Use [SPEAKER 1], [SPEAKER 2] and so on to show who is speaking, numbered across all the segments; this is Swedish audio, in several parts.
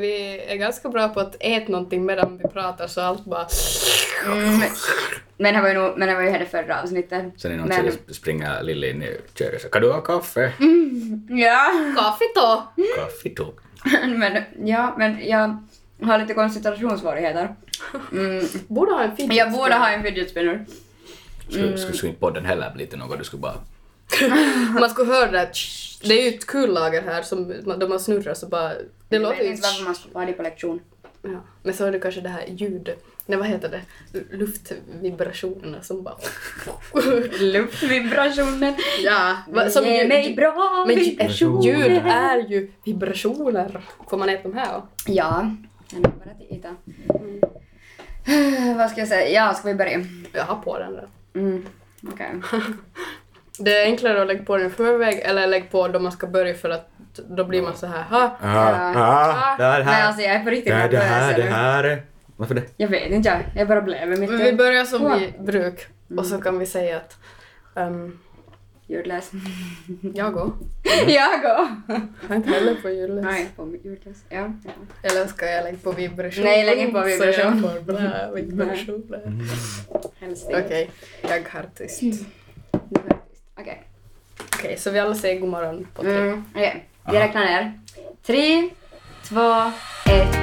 [SPEAKER 1] Vi är ganska bra på att äta någonting medan vi pratar så allt bara...
[SPEAKER 2] Mm, men det var ju, nog, men det var ju här det förra avsnittet.
[SPEAKER 3] Sen innan
[SPEAKER 2] men, Mm.
[SPEAKER 3] springer springa Lilly in i köket så kan du ha kaffe?
[SPEAKER 2] ja,
[SPEAKER 1] Kaffe då!
[SPEAKER 3] Kaffe då.
[SPEAKER 2] men, ja, men jag har lite koncentrationssvårigheter. Mm,
[SPEAKER 1] Borde ha en fidget
[SPEAKER 2] jag borde
[SPEAKER 1] spinner.
[SPEAKER 2] ha en fidget spinner.
[SPEAKER 3] Skulle mm. skulle inte podden heller bli till något, du skulle bara...
[SPEAKER 1] Man skulle höra det. här, tsch. Det är ju ett kullager här som då man snurrar så bara... Det
[SPEAKER 2] jag
[SPEAKER 1] låter
[SPEAKER 2] vet
[SPEAKER 1] ju...
[SPEAKER 2] inte varför man skulle ha det på lektion.
[SPEAKER 1] Ja. Men så är det kanske det här ljud... Nej, vad heter det? Luftvibrationerna som bara...
[SPEAKER 2] Luftvibrationen.
[SPEAKER 1] ja. va- Som
[SPEAKER 2] Ge
[SPEAKER 1] ju-
[SPEAKER 2] mig bra
[SPEAKER 1] Men
[SPEAKER 2] vibrationer.
[SPEAKER 1] ljud är ju vibrationer. Får man äta de här? va?
[SPEAKER 2] Ja, jag vill bara titta. Vad ska jag säga? Ja, ska vi börja?
[SPEAKER 1] Jag har på den där.
[SPEAKER 2] Mm, okej.
[SPEAKER 1] Det är enklare att lägga på den i förväg eller lägga på då man ska börja för att då blir man så här ha.
[SPEAKER 2] Ja.
[SPEAKER 3] ah, det
[SPEAKER 2] Nej, alltså jag är på riktigt nervös. nu.
[SPEAKER 3] är... Varför det?
[SPEAKER 2] Jag vet inte, jag, jag bara blev mitt
[SPEAKER 1] Men vi börjar som vi bruk och
[SPEAKER 2] Mm.
[SPEAKER 1] så kan vi säga att ehm,
[SPEAKER 2] Ljudlös.
[SPEAKER 1] jag går.
[SPEAKER 2] jag går!
[SPEAKER 1] Jag är inte heller på julen.
[SPEAKER 2] Nej, på mig, ljudlös. Ja. ja.
[SPEAKER 1] Eller ska jag lägga på vibration?
[SPEAKER 2] Nej, lägg in på
[SPEAKER 1] Så
[SPEAKER 2] vibration.
[SPEAKER 1] jag får blä, vibration. blä.
[SPEAKER 2] Helst
[SPEAKER 1] Okej,
[SPEAKER 2] inte.
[SPEAKER 1] jag har tyst.
[SPEAKER 2] Mm.
[SPEAKER 1] Okej,
[SPEAKER 2] Okej.
[SPEAKER 1] så vi alla säger god morgon på tre.
[SPEAKER 2] Mm, Okej, vi räknar ner. Tre, två, ett.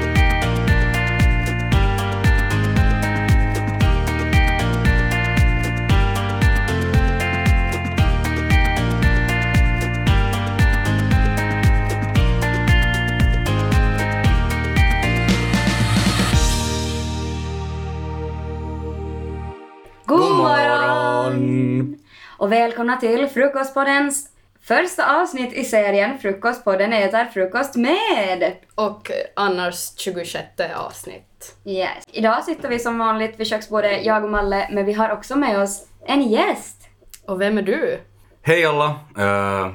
[SPEAKER 2] God morgon! Och välkomna till Frukostpoddens första avsnitt i serien Frukostpodden äter frukost med!
[SPEAKER 1] Och eh, annars 26 avsnitt.
[SPEAKER 2] Yes. Idag sitter vi som vanligt vid köksbordet, jag och Malle, men vi har också med oss en gäst.
[SPEAKER 1] Och vem är du?
[SPEAKER 2] Mm.
[SPEAKER 3] Hej alla! Eh,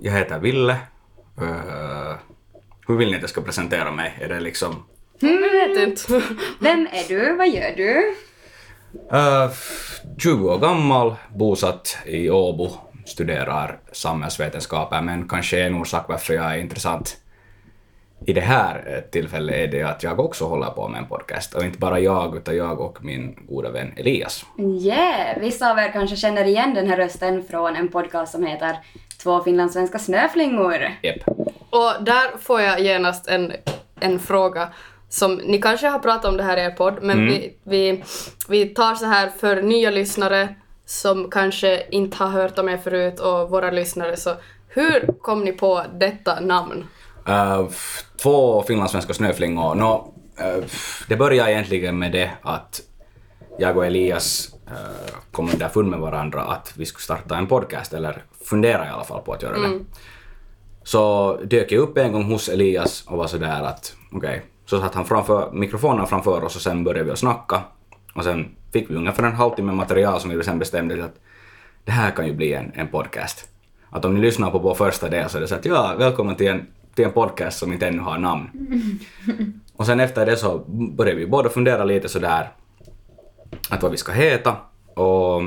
[SPEAKER 3] jag heter Ville. Eh, hur vill ni att jag ska presentera mig? Är det liksom...
[SPEAKER 1] Jag vet inte.
[SPEAKER 2] Vem är du? Vad gör du?
[SPEAKER 3] Uh, 20 år gammal, bosatt i Åbo, studerar samhällsvetenskaper men kanske en orsak varför jag är intressant i det här eh, tillfället är det att jag också håller på med en podcast och inte bara jag utan jag och min goda vän Elias.
[SPEAKER 2] Yeah! Vissa av er kanske känner igen den här rösten från en podcast som heter Två finlandssvenska snöflingor.
[SPEAKER 3] Jep.
[SPEAKER 1] Och där får jag genast en, en fråga som ni kanske har pratat om det här i er podd, men vi, vi, vi tar så här för nya lyssnare som kanske inte har hört om er förut och våra lyssnare. Så hur kom ni på detta namn?
[SPEAKER 3] Uh, f- två finlandssvenska snöflingor. Nå, eh, f- det börjar egentligen med det att jag och Elias eh, kom underfund med varandra att vi skulle starta en podcast, eller fundera i alla fall på att göra det. Så dök jag upp en gång hos Elias och var sådär att okej, så satt han framför mikrofonen framför oss och sen började vi att snacka. Och sen fick vi ungefär en halvtimme material som vi sen bestämde att det här kan ju bli en, en podcast. Att om ni lyssnar på vår första del så är det så att ja, välkommen till en, till en podcast som inte ännu har namn. Och sen efter det så började vi båda fundera lite sådär att vad vi ska heta och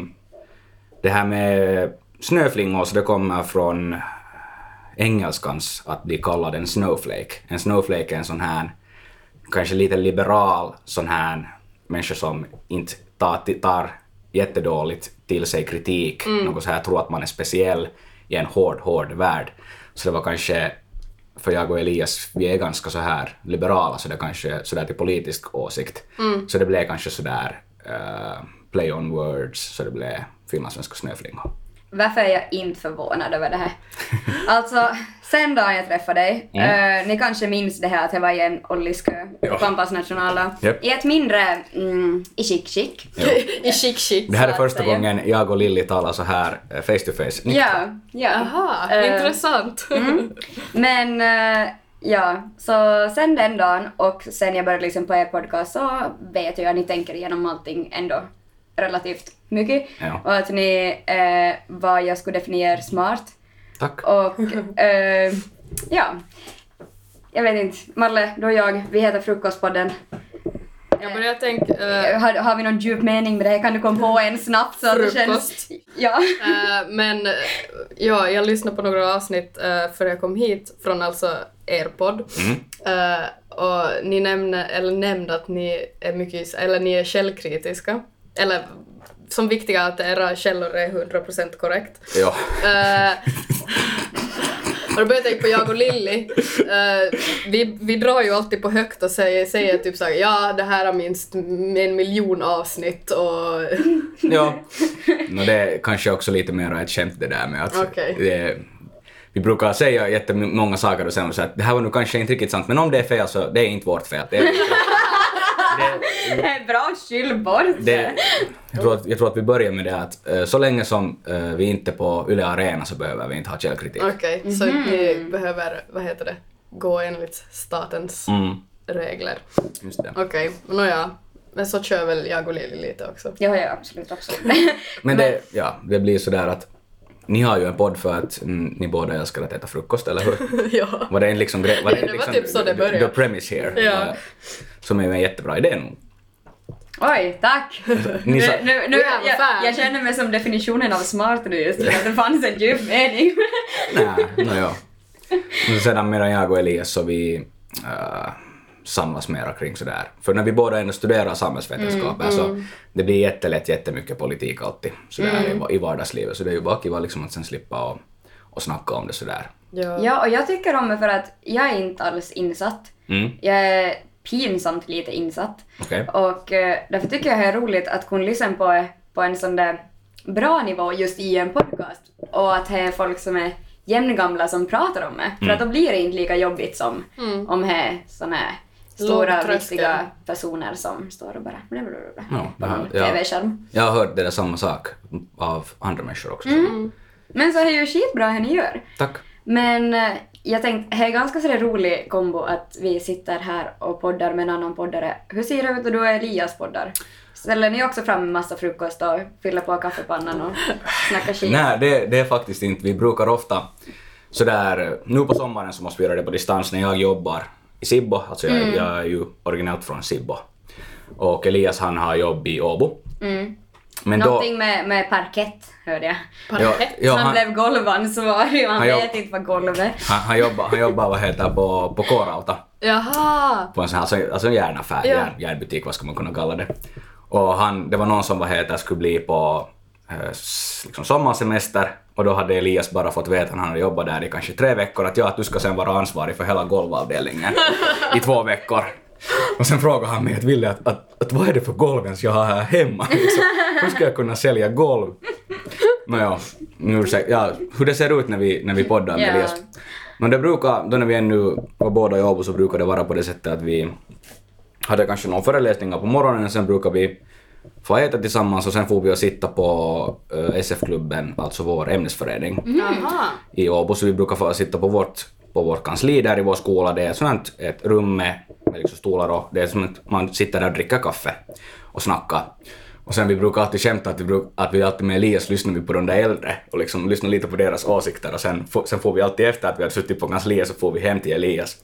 [SPEAKER 3] det här med snöflingor så det kommer från engelskans att bli kallad en snowflake. En snowflake är en sån här kanske lite liberal sån här människa som inte tar, tar jättedåligt till sig kritik, något så här tror att man är speciell i en hård, hård värld. Så det var kanske, för jag och Elias, vi är ganska så här liberala så det kanske sådär till politisk åsikt. Så det blev kanske sådär uh, play on words, så det blev finlandssvenska snöflingor.
[SPEAKER 2] Varför är jag inte förvånad över det här? Alltså, sen dagen jag träffade dig, eh, ni kanske minns det här att jag var i en olliskö
[SPEAKER 3] Mm. Ja.
[SPEAKER 2] på Pampas nationaldag.
[SPEAKER 3] Japp.
[SPEAKER 2] I ett mindre, mm, i chic chic.
[SPEAKER 1] I chic chic.
[SPEAKER 3] Det här är
[SPEAKER 2] Så att
[SPEAKER 3] första
[SPEAKER 2] säga.
[SPEAKER 3] gången jag och Lilly talar så här eh, face to face. Ni-
[SPEAKER 2] Ja, ja.
[SPEAKER 1] Aha,
[SPEAKER 2] Eh,
[SPEAKER 1] intressant.
[SPEAKER 2] Men eh, ja, så sen den dagen och sen jag började lyssna på er podcast så vet jag att ni tänker igenom allting ändå relativt mycket.
[SPEAKER 3] Ja.
[SPEAKER 2] Och att ni, eh, vad jag skulle definiera smart.
[SPEAKER 3] Tack.
[SPEAKER 2] Och eh, ja, jag vet inte. Malle, du och jag, vi heter Frukostpodden.
[SPEAKER 1] Jag börjar tänka... eh,
[SPEAKER 2] Eh, Har, har vi någon djup mening med det här? Kan du komma på en snabbt? Så att det
[SPEAKER 1] Frukost.
[SPEAKER 2] känns... Ja.
[SPEAKER 1] Eh, men eh, ja, jag lyssnade på några avsnitt eh, före jag kom hit från alltså er podd. Eh, och ni nämnde, eller nämnde att ni är mycket, eller ni är källkritiska. Eller som viktiga att era källor är 100% korrekt.
[SPEAKER 3] Ja.
[SPEAKER 1] Eh, och då började jag tänka på jag och Lilly. Eh, vi, vi drar ju alltid på högt och säger, säger typ såhär ja det här har minst en miljon avsnitt och
[SPEAKER 3] ja. No, det är kanske också lite mer ett skämt det där med att
[SPEAKER 1] Okej.
[SPEAKER 3] det, vi brukar säga jättemånga saker och sen så att det här var nu kanske inte riktigt sant men om det är fel så det är inte vårt fel. Det är,
[SPEAKER 2] Bra skyllbord!
[SPEAKER 3] det, jag, tror att, jag tror att vi börjar med det att eh, så länge som eh, vi inte är på Yle Arena så behöver vi inte ha källkritik.
[SPEAKER 1] okej, så
[SPEAKER 2] Mhm.
[SPEAKER 1] ni behöver, vad heter det, gå enligt statens
[SPEAKER 3] Mm.
[SPEAKER 1] regler.
[SPEAKER 3] Just det.
[SPEAKER 1] Okej, nåja. Men så kör väl jag och Lilly lite också.
[SPEAKER 2] Ja, ja, absolut, absolut.
[SPEAKER 3] Men det, ja, det blir sådär att ni har ju en podd för att mm, ni båda älskar att äta frukost, eller hur?
[SPEAKER 1] ja.
[SPEAKER 3] Var det en liksom grej? Var
[SPEAKER 1] Ja, det var
[SPEAKER 3] liksom
[SPEAKER 1] typ så det
[SPEAKER 3] the-
[SPEAKER 1] började.
[SPEAKER 3] The premise here.
[SPEAKER 1] Ja.
[SPEAKER 3] eh, Som är ju en jättebra idé nog.
[SPEAKER 2] Oj, tack!
[SPEAKER 3] Ni
[SPEAKER 2] Nu,
[SPEAKER 3] sa-
[SPEAKER 2] nu, nu,
[SPEAKER 1] Du är
[SPEAKER 2] jag,
[SPEAKER 1] fan.
[SPEAKER 2] jag känner mig som definitionen av smart nu just för att det fanns en djup mening.
[SPEAKER 3] Nej, no, ja. Men sedan medan jag och Elias så vi äh, samlas mera kring sådär. För när vi båda ändå studerar samhällsvetenskaper
[SPEAKER 1] Mm,
[SPEAKER 3] så det blir jättelätt jättemycket politik alltid sådär
[SPEAKER 1] Mm.
[SPEAKER 3] i va- i vardagslivet. Så det är ju bara kiva liksom att sen slippa och, och snacka om det sådär.
[SPEAKER 1] Ja.
[SPEAKER 2] Ja, och jag tycker om det för att jag är inte alls insatt.
[SPEAKER 3] Mm,
[SPEAKER 2] Jag är pinsamt lite insatt.
[SPEAKER 3] okej.
[SPEAKER 2] Och eh, därför tycker jag det är roligt att kunna lyssna på, på en sån där bra nivå just i en podcast. Och att det är folk som är jämngamla som pratar om det. För att då blir det inte lika jobbigt som
[SPEAKER 1] Mm.
[SPEAKER 2] om det är såna här
[SPEAKER 1] Låg
[SPEAKER 2] stora
[SPEAKER 1] tröskel.
[SPEAKER 2] viktiga personer som står och bara blablabla.
[SPEAKER 3] Ja, det här- ja.
[SPEAKER 2] TV-skärm.
[SPEAKER 3] Jag har hört det där samma sak av andra människor också.
[SPEAKER 1] Mm.
[SPEAKER 2] Men så är det ju skitbra hur ni gör.
[SPEAKER 3] Tack.
[SPEAKER 2] Men eh, jag tänkte, det är ganska sådär rolig kombo att vi sitter här och poddar med en annan poddare. Hur ser det ut att du och Elias poddar? Ställer ni också fram en massa frukost och fyller på kaffepannan och snackar skit?
[SPEAKER 3] Nej, det, det är faktiskt inte. Vi brukar ofta sådär, nu på sommaren så måste vi göra det på distans när jag jobbar i Sibbo, alltså jag, jag är ju originellt från Sibbo. Och Elias han har jobb i Åbo.
[SPEAKER 2] Mm.
[SPEAKER 3] Men då,
[SPEAKER 2] Någonting med, med parkett, hörde jag.
[SPEAKER 3] ja, ja,
[SPEAKER 2] han,
[SPEAKER 3] han,
[SPEAKER 2] blev golvansvarig och han
[SPEAKER 3] Han jobb-
[SPEAKER 2] vet inte vad golv är.
[SPEAKER 3] han, han jobbar, han jobbar vad heter det, på, på K-Rauta.
[SPEAKER 1] Jaha!
[SPEAKER 3] på en sån här, alltså, alltså en järnaffär,
[SPEAKER 1] Ja.
[SPEAKER 3] järn, järnbutik, vad ska man kunna kalla det. Och han, det var någon som vad heter, skulle bli på eh, s- liksom sommarsemester och då hade Elias bara fått veta, han hade jobbat där i kanske tre veckor, att ja, att du ska sen vara ansvarig för hela golvavdelningen i två veckor. Och sen frågade han mig att Ville, att, att, att vad är det för golv ens jag har här hemma? Liksom, hur ska jag kunna sälja golv? Nåja, nu ursäk- ja, hur det ser ut när vi, när vi poddar med
[SPEAKER 2] Ja.
[SPEAKER 3] Elias. Men det brukar, då när vi ännu var båda i Åbo så brukar det vara på det sättet att vi hade kanske någon föreläsningar på morgonen och sen brukar vi få äta tillsammans och sen får vi och sitta på eh, SF-klubben, alltså vår ämnesförening
[SPEAKER 2] Mhm.
[SPEAKER 1] Jaha!
[SPEAKER 3] i Åbo, så vi brukar få sitta på vårt, på vårt kansli där i vår skola. Det är ett sånt här- ett rum med, med liksom stolar och det är som att man sitter där och dricker kaffe och snackar. Och sen vi brukar alltid skämta att vi, bruk, att vi alltid med Elias lyssnar vi på de där äldre och liksom lyssnar lite på deras åsikter och sen, få, sen får vi alltid efter att vi har suttit på kansliet så får vi hem till Elias.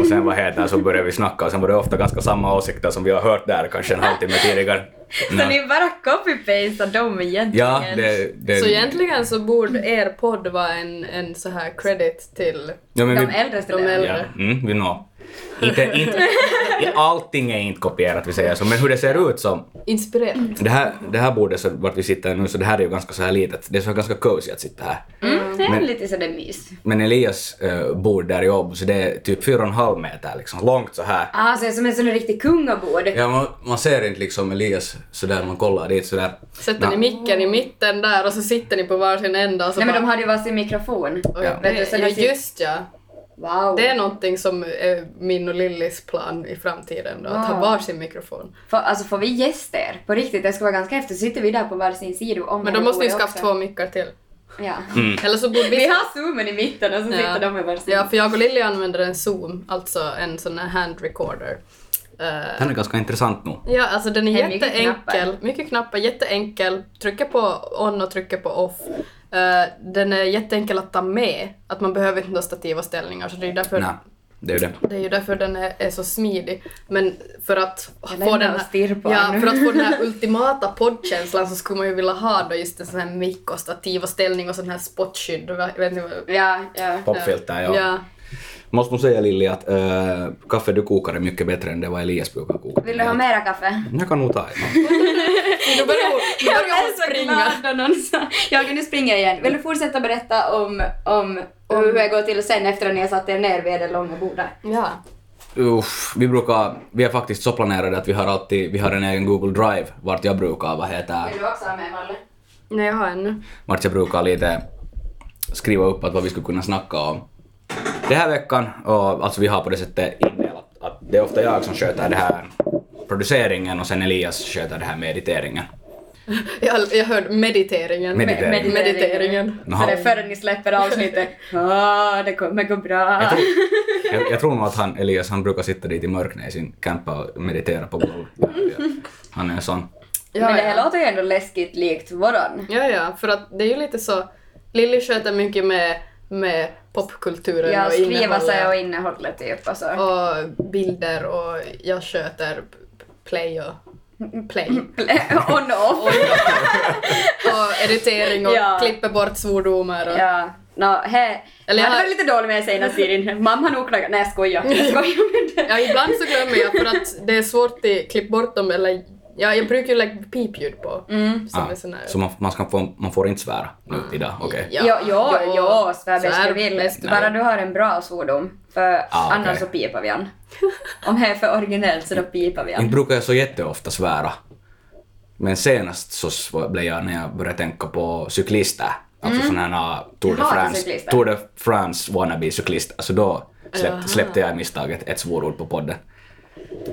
[SPEAKER 3] Och sen vad heter det, så börjar vi snacka och sen var det ofta ganska samma åsikter som vi har hört där kanske en halvtimme tidigare.
[SPEAKER 2] Så
[SPEAKER 3] Nej.
[SPEAKER 2] ni bara copy-pastar dem egentligen?
[SPEAKER 3] Ja, det, det,
[SPEAKER 1] Så egentligen så borde er podd vara en, en så här credit till...
[SPEAKER 3] ja, men
[SPEAKER 2] De
[SPEAKER 3] vi-
[SPEAKER 2] äldre
[SPEAKER 1] de
[SPEAKER 2] ställer
[SPEAKER 1] äldre.
[SPEAKER 3] Ja, mm, vi nå. Inte, inte, allting är inte kopierat, vi säger så, men hur det ser ut så.
[SPEAKER 1] Inspirerat.
[SPEAKER 2] Mm.
[SPEAKER 3] Det här, det här bordet så, vart vi sitter nu, så det här är ju ganska så här litet. Det är så ganska cozy att sitta här.
[SPEAKER 2] Mm, det är
[SPEAKER 3] Men-
[SPEAKER 2] lite sådär mys.
[SPEAKER 3] Men Elias eh, bord där i Åbo, så det är typ fyra och en halv meter liksom, långt så här.
[SPEAKER 2] Ah, så det är som en sån där riktig kungabord.
[SPEAKER 3] Ja, man, man ser inte liksom Elias sådär, man kollar dit sådär.
[SPEAKER 1] Sätter ni micken i mitten där och så sitter ni på varsin ända och så
[SPEAKER 2] Nej men
[SPEAKER 1] bara-
[SPEAKER 2] de hade ju varsin mikrofon.
[SPEAKER 1] Oj,
[SPEAKER 3] Ja.
[SPEAKER 1] det-
[SPEAKER 2] Vet du, så
[SPEAKER 1] ja,
[SPEAKER 2] det sit-
[SPEAKER 1] just ja.
[SPEAKER 2] Wow.
[SPEAKER 1] Det är någonting som är min och Lillis plan i framtiden då, att ha
[SPEAKER 2] Wow.
[SPEAKER 1] varsin mikrofon.
[SPEAKER 2] Får, alltså får vi gäster? På riktigt, det skulle vara ganska häftigt. Så sitter vi där på varsin sida om
[SPEAKER 1] Men
[SPEAKER 2] hela
[SPEAKER 1] då måste ni
[SPEAKER 2] bordet
[SPEAKER 1] skaffa
[SPEAKER 2] också.
[SPEAKER 1] två mickar till.
[SPEAKER 2] Ja.
[SPEAKER 1] Eller så borde
[SPEAKER 2] Vi
[SPEAKER 1] vi...
[SPEAKER 2] har zoomen i mitten och så sitter de med varsin.
[SPEAKER 1] ja, för jag och Lilly använder en zoom, alltså en sån här hand recorder. Eh,
[SPEAKER 3] Den är ganska intressant nog.
[SPEAKER 1] Ja, alltså den är
[SPEAKER 2] Det är mycket
[SPEAKER 1] jätteenkel.
[SPEAKER 2] knappar.
[SPEAKER 1] mycket knappar, jätteenkel. Trycker på on och trycker på off. Eh, den är jätteenkel att ta med. Att man behöver inte några stativ och ställningar. Så det är ju därför,
[SPEAKER 3] Nej, det är ju det.
[SPEAKER 1] det är ju därför den är, är så smidig. Men för att
[SPEAKER 2] lämnar
[SPEAKER 1] få den
[SPEAKER 2] och
[SPEAKER 1] här,
[SPEAKER 2] stirr på
[SPEAKER 1] ja,
[SPEAKER 2] den.
[SPEAKER 1] för att få den här ultimata poddkänslan så skulle man ju vilja ha då just en sån här mick och stativ och ställning och sån här spotskydd. Jag Vet inte vad...
[SPEAKER 2] Ja, ja.
[SPEAKER 3] Popfilter, ja.
[SPEAKER 1] Ja.
[SPEAKER 3] Måste nog säga Lilly att äh, kaffe du kokar är mycket bättre än det vad Elias brukar koka.
[SPEAKER 2] Vill du ha mera kaffe?
[SPEAKER 3] Jag kan nog ta en.
[SPEAKER 1] Nu börjar hon, nu börjar hon springa.
[SPEAKER 2] då någon sa... Jag kunde springa igen. Vill du fortsätta berätta om, om, om hur det går till sen efter att ni har satt er ner vid det långa bordet?
[SPEAKER 1] Ja.
[SPEAKER 3] Uff, vi brukar, vi är faktiskt så planerade att vi har alltid, vi har en egen Google Drive vart jag brukar, vad heter
[SPEAKER 2] Vill du också ha med Valle?
[SPEAKER 1] Nej, jag har ännu.
[SPEAKER 3] vart jag brukar lite skriva upp att vad vi skulle kunna snacka om den här veckan. Och alltså vi har på det sättet indelat att det är ofta jag som sköter det här produceringen och sen Elias sköter det här mediteringen.
[SPEAKER 1] Jag, jag hörde mediteringen.
[SPEAKER 3] Med- Mediteringen.
[SPEAKER 1] Mediteringen.
[SPEAKER 3] Jaha.
[SPEAKER 2] Så det är förrän ni släpper avsnittet. Ah, det kommer gå bra.
[SPEAKER 3] Jag, tror- jag, jag tror nog att han, Elias han brukar sitta dit i mörknet i sin campa och meditera på golvet. Han är en sån.
[SPEAKER 1] Ja,
[SPEAKER 2] Men det här
[SPEAKER 1] ja.
[SPEAKER 2] låter ju ändå läskigt likt våran.
[SPEAKER 1] ja, ja, för att det är ju lite så... Lilly sköter mycket med, med popkulturen
[SPEAKER 2] Ja,
[SPEAKER 1] och
[SPEAKER 2] skriva sig och
[SPEAKER 1] innehållet
[SPEAKER 2] innehållet typ och så.
[SPEAKER 1] och bilder och jag sköter p- p- play och...
[SPEAKER 2] Mm.
[SPEAKER 1] Play.
[SPEAKER 2] On off.
[SPEAKER 1] Och editering och
[SPEAKER 2] Ja.
[SPEAKER 1] klipper bort svordomar och...
[SPEAKER 2] Ja. Nå, he.
[SPEAKER 1] Eller
[SPEAKER 2] Eller
[SPEAKER 1] jag
[SPEAKER 2] jag hade
[SPEAKER 1] har-
[SPEAKER 2] varit lite dålig med senast tiden. Mamma har nog klagat. Nej, jag skojar. Jag skojar med det.
[SPEAKER 1] Ja, ibland så glömmer jag för att det är svårt att klippa bort dem eller... Ja, jag brukar ju lägga pipljud på.
[SPEAKER 2] Mm.
[SPEAKER 1] Som
[SPEAKER 3] Ah,
[SPEAKER 1] är sån här...
[SPEAKER 3] så man, man, ska få, man får inte svära nu idag, okej?
[SPEAKER 1] Ja,
[SPEAKER 2] Jo, jo, jo, svär bäst
[SPEAKER 1] svär
[SPEAKER 2] du vill.
[SPEAKER 1] bäst du
[SPEAKER 2] Bara du har en bra svordom. För
[SPEAKER 3] Ah, okej.
[SPEAKER 2] annars så pipar vi an. Om det är för originellt så då pipar vi an.
[SPEAKER 3] Inte Niin brukar jag så jätteofta svära. Men senast så sv- blev jag när jag började tänka på cyklister. Alltså
[SPEAKER 2] Mm.
[SPEAKER 3] sådana här ah, Tour de
[SPEAKER 2] Hatar
[SPEAKER 3] France,
[SPEAKER 2] cyklister.
[SPEAKER 3] Tour de France wannabe-cyklister. Alltså då släpp, släppte jag i misstaget ett svorord på podden.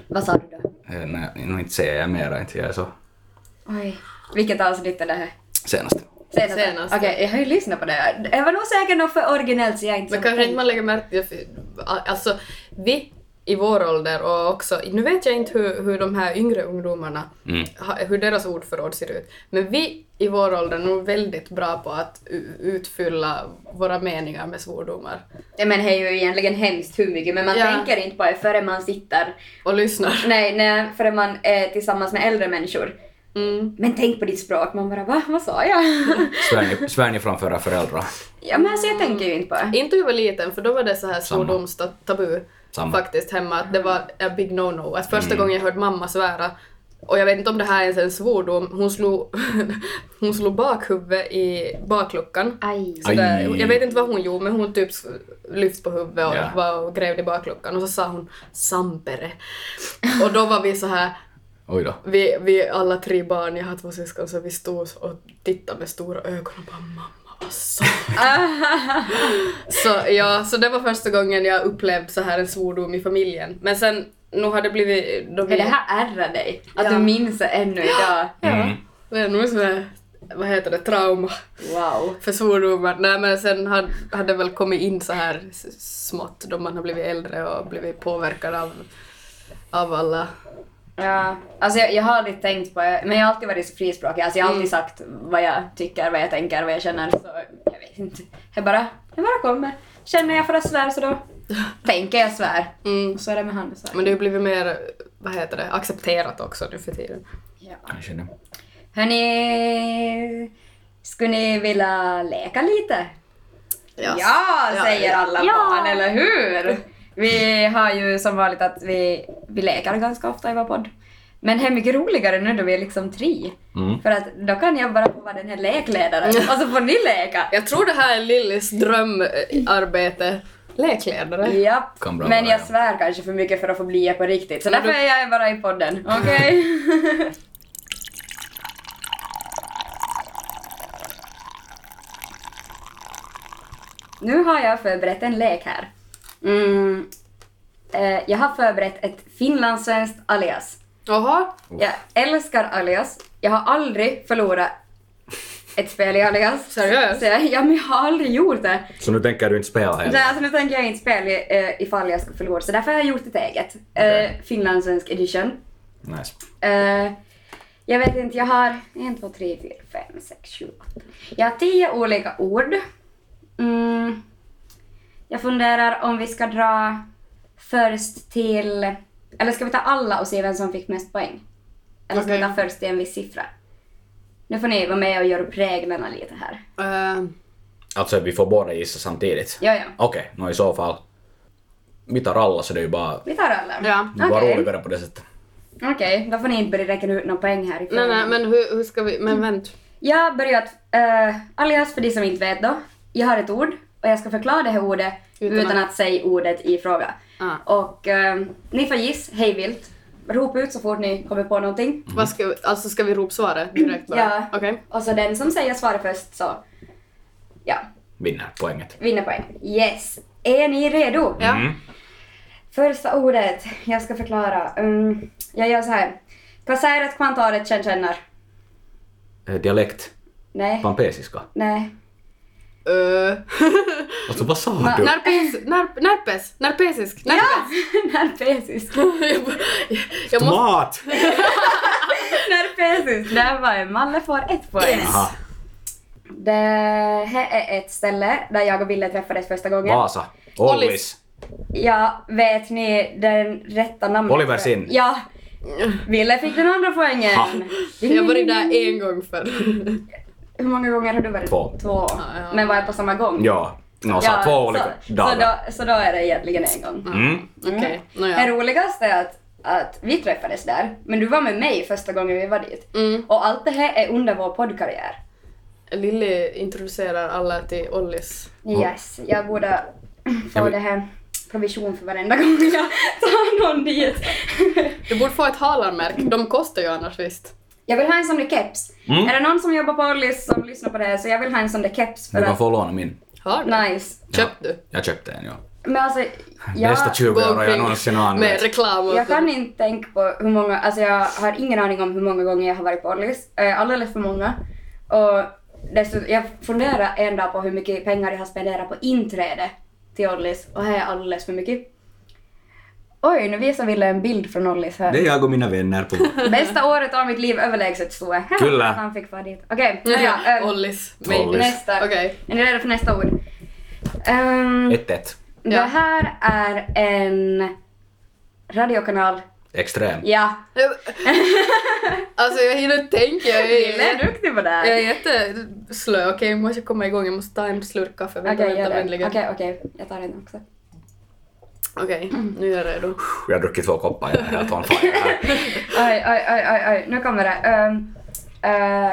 [SPEAKER 2] Vad sa du då?
[SPEAKER 3] Eh, Nej, nu inte säger jag mera, inte jag är så
[SPEAKER 2] Oj. Vilket avsnitt är det här?
[SPEAKER 3] senast.
[SPEAKER 2] Senast.
[SPEAKER 1] Senaste.
[SPEAKER 2] Okej, jag har ju lyssnat på det här. Det var nog säkert något för originellt så jag inte
[SPEAKER 1] Men kanske inte man lägger märke till... för- Alltså, vi i vår ålder och också... Nu vet jag inte hur, hur de här yngre ungdomarna,
[SPEAKER 3] Mm.
[SPEAKER 1] ha- hur deras ordförråd ser ut. Men vi i vår ålder är nog väldigt bra på att u- utfylla våra meningar med svordomar.
[SPEAKER 2] Ja, men det är ju egentligen hemskt hur mycket, men man
[SPEAKER 1] Ja.
[SPEAKER 2] tänker inte på det förrän man sitter...
[SPEAKER 1] Och lyssnar.
[SPEAKER 2] Nej, nej, förrän man är tillsammans med äldre människor.
[SPEAKER 1] Mm.
[SPEAKER 2] Men tänk på ditt språk, man bara va, vad sa jag?
[SPEAKER 3] Svär ni, svär ni framför era föräldrar?
[SPEAKER 2] ja men alltså jag tänker ju inte på det.
[SPEAKER 1] Inte hur jag var liten, för då var det så här
[SPEAKER 3] Samma.
[SPEAKER 1] svordomstabu
[SPEAKER 3] Samma. Mm.
[SPEAKER 1] faktiskt hemma. Att det var a big no-no. Att första gången jag hörde mamma svära, och jag vet inte om det här är ens är en svordom, hon slog, hon slog bakhuvudet i bakluckan.
[SPEAKER 2] Aj.
[SPEAKER 1] Så där,
[SPEAKER 3] Aj.
[SPEAKER 1] jag vet inte vad hon gjorde, men hon typ s- lyfte på huvudet och,
[SPEAKER 3] Ja.
[SPEAKER 1] var och grävde i bakluckan och så sa hon ”sampere”. Och då var vi så här,
[SPEAKER 3] Oj då.
[SPEAKER 1] vi, vi alla tre barn, jag har två syskon, så vi stod och tittade med stora ögon och bara ”mamma, vad sa du?" Så ja, så det var första gången jag upplevde så här en svordom i familjen. Men sen, nu har det blivit... De
[SPEAKER 2] Men det här ärrar dig, att
[SPEAKER 1] Ja.
[SPEAKER 2] du minns det ännu idag.
[SPEAKER 1] Ja, det är nog så här, vad heter det, trauma.
[SPEAKER 2] Wow.
[SPEAKER 1] för svordomar. Nej men sen hade, hade väl kommit in så här s- smått då man har blivit äldre och blivit påverkad av, av alla.
[SPEAKER 2] Ja, alltså jag, jag har aldrig tänkt på det, men jag har alltid varit så frispråkig. Alltså jag har alltid
[SPEAKER 1] Mm.
[SPEAKER 2] sagt vad jag tycker, vad jag tänker, vad jag känner. Så jag vet inte. Jag bara, jag bara kommer. Känner jag för att svär så då tänker jag svär.
[SPEAKER 1] Mm.
[SPEAKER 2] Och så är det med han och svär.
[SPEAKER 1] Men det har blivit mer, vad heter det, accepterat också nu för tiden.
[SPEAKER 2] Ja.
[SPEAKER 3] Kanske det.
[SPEAKER 2] Hörni, skulle ni vilja leka lite?
[SPEAKER 1] Yes.
[SPEAKER 2] Ja, säger alla
[SPEAKER 1] Ja.
[SPEAKER 2] barn, eller hur? Vi har ju som vanligt att vi, vi lekar ganska ofta i vår podd. Men det är mycket roligare nu då vi är liksom tre.
[SPEAKER 3] Mm.
[SPEAKER 2] För att då kan jag bara få vara den här lekledaren och så får ni leka.
[SPEAKER 1] Jag tror det här är Lillys drömarbete. Lekledare.
[SPEAKER 2] Japp.
[SPEAKER 3] Kan bra
[SPEAKER 2] Men
[SPEAKER 3] vara,
[SPEAKER 2] jag
[SPEAKER 3] ja.
[SPEAKER 2] svär kanske för mycket för att få bli det på riktigt. Så
[SPEAKER 1] Men
[SPEAKER 2] därför är jag bara i podden. Okej? nu har jag förberett en lek här. Mm. Eh, jag har förberett ett finlandssvenskt alias.
[SPEAKER 1] Jaha.
[SPEAKER 2] Jag älskar alias. Jag har aldrig förlorat ett spel i alias.
[SPEAKER 1] Seriöst?
[SPEAKER 2] Så jag, ja, men jag har aldrig gjort det.
[SPEAKER 3] Så nu tänker du inte spela heller?
[SPEAKER 2] Nej, alltså nu tänker jag inte spela uh, ifall jag ska förlora, så därför har jag gjort ett eget. Okay.
[SPEAKER 3] Okej.
[SPEAKER 2] Finlandssvensk edition.
[SPEAKER 3] Nice.
[SPEAKER 2] Eh, jag vet inte, jag har en, två, tre, fyra, fem, sex, sju, åtta. Jag har tio olika ord. Mm. Jag funderar om vi ska dra först till... Eller ska vi ta alla och se vem som fick mest poäng? Eller ska vi
[SPEAKER 1] Okej.
[SPEAKER 2] ta först till en viss siffra? Nu får ni vara med och göra upp reglerna lite här.
[SPEAKER 1] Eh,
[SPEAKER 3] Alltså vi får båda gissa samtidigt?
[SPEAKER 2] Ja, ja.
[SPEAKER 3] Okej, nå i så fall. vi tar alla så det är ju bara,
[SPEAKER 2] Vi tar alla.
[SPEAKER 1] Ja.
[SPEAKER 3] det är bara
[SPEAKER 2] Okej.
[SPEAKER 3] roligare på det sättet.
[SPEAKER 2] Okej, då får ni inte börja räkna ut några poäng härifrån.
[SPEAKER 1] Nej, nej, men hur, hur ska vi... Men vänt.
[SPEAKER 2] Jag börjar att, eh, alias för de som inte vet då. Jag har ett ord och jag ska förklara det här ordet
[SPEAKER 1] Utan
[SPEAKER 2] utan,
[SPEAKER 1] att-
[SPEAKER 2] att... säga ordet i fråga.
[SPEAKER 1] Ah.
[SPEAKER 2] Och eh, ni får giss hej vilt. Ropa ut så fort ni kommer på någonting.
[SPEAKER 1] Vad ska vi, alltså ska vi ropa svaret direkt bara?
[SPEAKER 2] Ja.
[SPEAKER 1] Okej.
[SPEAKER 2] Och så den som säger svaret först så, ja,
[SPEAKER 3] Vinner poänget.
[SPEAKER 2] vinner poäng. Yes! Är ni redo?
[SPEAKER 1] Ja.
[SPEAKER 3] Mm.
[SPEAKER 2] Första ordet jag ska förklara. Mm, jag gör så här. Kasaret kvantaret känn känner.
[SPEAKER 3] Eh, Dialekt.
[SPEAKER 2] Nej.
[SPEAKER 3] Pampesiska.
[SPEAKER 2] Nej.
[SPEAKER 1] Ö.
[SPEAKER 3] Alltså vad sa
[SPEAKER 2] Va-
[SPEAKER 3] du?
[SPEAKER 1] Närpes, närp, närpes, närpesisk,
[SPEAKER 2] Ja!
[SPEAKER 1] närpes.
[SPEAKER 2] Nerpesisk.
[SPEAKER 1] jag, bara- jag måste...
[SPEAKER 3] Tomat!
[SPEAKER 2] Nerpesisk. Där var en. Malle får ett poäng.
[SPEAKER 3] Jaha,
[SPEAKER 2] Det här är ett ställe där jag och Ville träffades första gången.
[SPEAKER 3] Vasa.
[SPEAKER 1] Ollis.
[SPEAKER 3] Ollis.
[SPEAKER 2] Ja, vet ni den rätta namnet?
[SPEAKER 3] Oliver Sinn.
[SPEAKER 2] Ja. Ville fick den andra poängen.
[SPEAKER 3] Ha.
[SPEAKER 1] Jag har varit där en gång förr.
[SPEAKER 2] Hur många gånger har du varit?
[SPEAKER 3] Två.
[SPEAKER 2] Två.
[SPEAKER 1] ja.
[SPEAKER 2] Men var jag på samma gång?
[SPEAKER 3] Ja, no, sa två olika
[SPEAKER 2] så, så,
[SPEAKER 3] dagar.
[SPEAKER 2] då, så då är det egentligen en gång.
[SPEAKER 3] Mm.
[SPEAKER 1] Okej,
[SPEAKER 2] Det
[SPEAKER 1] nåja.
[SPEAKER 2] roligaste är att, att vi träffades där, men du var med mig första gången vi var dit.
[SPEAKER 1] Mm.
[SPEAKER 2] Och allt det här är under vår poddkarriär.
[SPEAKER 1] Lilly introducerar alla till Ollis.
[SPEAKER 2] Yes, jag borde få
[SPEAKER 3] Jag vill-
[SPEAKER 2] det här provision för varenda gång jag tar någon dit.
[SPEAKER 1] Du borde få ett halarmärke, de kostar ju annars visst.
[SPEAKER 2] Jag vill ha en sån där keps.
[SPEAKER 3] Mm.
[SPEAKER 2] Är det någon som jobbar på Ollis som lyssnar på det här så jag vill ha en sån där keps för
[SPEAKER 3] Du kan
[SPEAKER 2] att...
[SPEAKER 3] få låna min.
[SPEAKER 1] Har du?
[SPEAKER 2] Nice.
[SPEAKER 1] Köpte du?
[SPEAKER 3] Jag köpte en, ja.
[SPEAKER 2] Men alltså, jag,
[SPEAKER 3] Bästa 20
[SPEAKER 1] Gå
[SPEAKER 3] euro jag
[SPEAKER 1] omkring
[SPEAKER 3] någonsin har
[SPEAKER 1] Med
[SPEAKER 3] använt.
[SPEAKER 1] reklam och typ-
[SPEAKER 2] jag
[SPEAKER 3] Alltså-
[SPEAKER 2] kan inte tänka på hur många... Alltså jag har ingen aning om hur många gånger jag har varit på Ollis. Eh, Alldeles för många. Och dessutom, jag funderar en dag på hur mycket pengar jag har spenderat på inträde till Ollis och här är alldeles för mycket. Oj, nu visar Wille en bild från Ollis här.
[SPEAKER 3] Det är jag och mina vänner på.
[SPEAKER 2] Bästa året av mitt liv överlägset stod jag.
[SPEAKER 3] Kyllä.
[SPEAKER 2] Han fick vara dit. Okej,
[SPEAKER 1] Ja,
[SPEAKER 2] ja,
[SPEAKER 1] ja,
[SPEAKER 2] ehm,
[SPEAKER 1] Ollis.
[SPEAKER 3] Ollis.
[SPEAKER 2] nästa.
[SPEAKER 1] Okej.
[SPEAKER 2] Är ni redo för nästa ord? Ehm,
[SPEAKER 3] 1-1.
[SPEAKER 2] Det
[SPEAKER 1] Ja.
[SPEAKER 2] här är en radiokanal.
[SPEAKER 3] Extrem.
[SPEAKER 2] Ja.
[SPEAKER 1] Alltså jag hinner tänka, jag är,
[SPEAKER 2] Wille är
[SPEAKER 1] jag
[SPEAKER 2] duktig på det här.
[SPEAKER 1] är jätteslö. Okej, jag måste komma igång, jag måste ta en slurk kaffe. Vänta,
[SPEAKER 2] Okej, gör
[SPEAKER 1] vänta,
[SPEAKER 2] det.
[SPEAKER 1] vänligen. Okej,
[SPEAKER 2] Okej, okej. Jag tar den också. Mm.
[SPEAKER 1] nu är jag redo.
[SPEAKER 3] Jag har druckit två koppar, jag är helt on fire här.
[SPEAKER 2] Oj, oj, oj, oj, oj. Nu kommer det. Ehm, eh,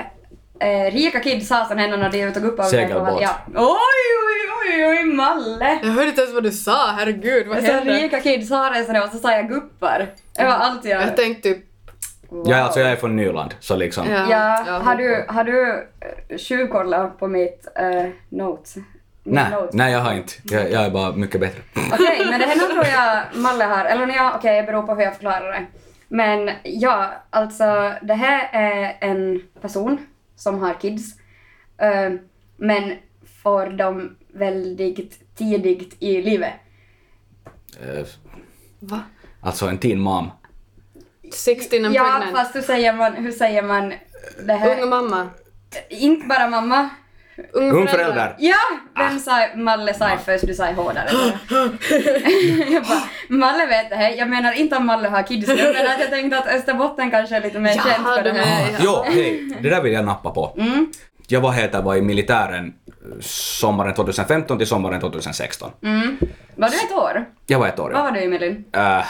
[SPEAKER 2] eh, rika kids har sån här när de är ute och går upp. och-
[SPEAKER 3] Segelbåt.
[SPEAKER 2] Ja. Oj, oj, oj, oj, Malle!
[SPEAKER 1] Jag hörde inte ens vad du sa, herregud vad
[SPEAKER 2] Så
[SPEAKER 1] hände?
[SPEAKER 2] rika kids har en sån här och så sa jag guppar. Det var allt jag...
[SPEAKER 1] Jag tänkte typ...
[SPEAKER 2] Wow.
[SPEAKER 3] Ja, alltså jag är från Nyland, så liksom.
[SPEAKER 1] Ja,
[SPEAKER 2] Ja,
[SPEAKER 1] jag
[SPEAKER 2] har du, har du eh, tjuvkollat på mitt eh, notes? Min
[SPEAKER 3] Nej,
[SPEAKER 2] notes?
[SPEAKER 3] nej jag har inte. Jag, jag är bara mycket bättre.
[SPEAKER 2] Okej, men det här nog tror jag Malle har. Eller nej, ja, okej, det beror på hur jag förklarar det. Men ja, alltså det här är en person som har kids. eh, men får dem väldigt tidigt i livet.
[SPEAKER 3] Eh,
[SPEAKER 1] Va?
[SPEAKER 3] Alltså en teen mom.
[SPEAKER 1] 16 and
[SPEAKER 2] ja,
[SPEAKER 1] pregnant.
[SPEAKER 2] fast hur säger man, hur säger man det här?
[SPEAKER 1] Unga mamma.
[SPEAKER 2] Inte bara mamma.
[SPEAKER 1] Ung
[SPEAKER 3] Ung förälder.
[SPEAKER 2] Ja! Vem sa Malle sa först, du sa hårdare. jag bara, Malle vet det här. Jag menar inte om Malle har kids nu, men att jag tänkte att Österbotten kanske är lite mer
[SPEAKER 1] Ja,
[SPEAKER 2] känt för det
[SPEAKER 1] det
[SPEAKER 2] här.
[SPEAKER 1] är-
[SPEAKER 3] Ah, jo, hej, det där vill jag nappa på.
[SPEAKER 2] Mm.
[SPEAKER 3] Jag var, heter, var i militären eh, sommaren 2015 till sommaren 2016.
[SPEAKER 2] Mm. Var du ett år?
[SPEAKER 3] Jag var ett år,
[SPEAKER 2] Vad
[SPEAKER 3] ja.
[SPEAKER 2] var du Emelin?
[SPEAKER 3] Äh,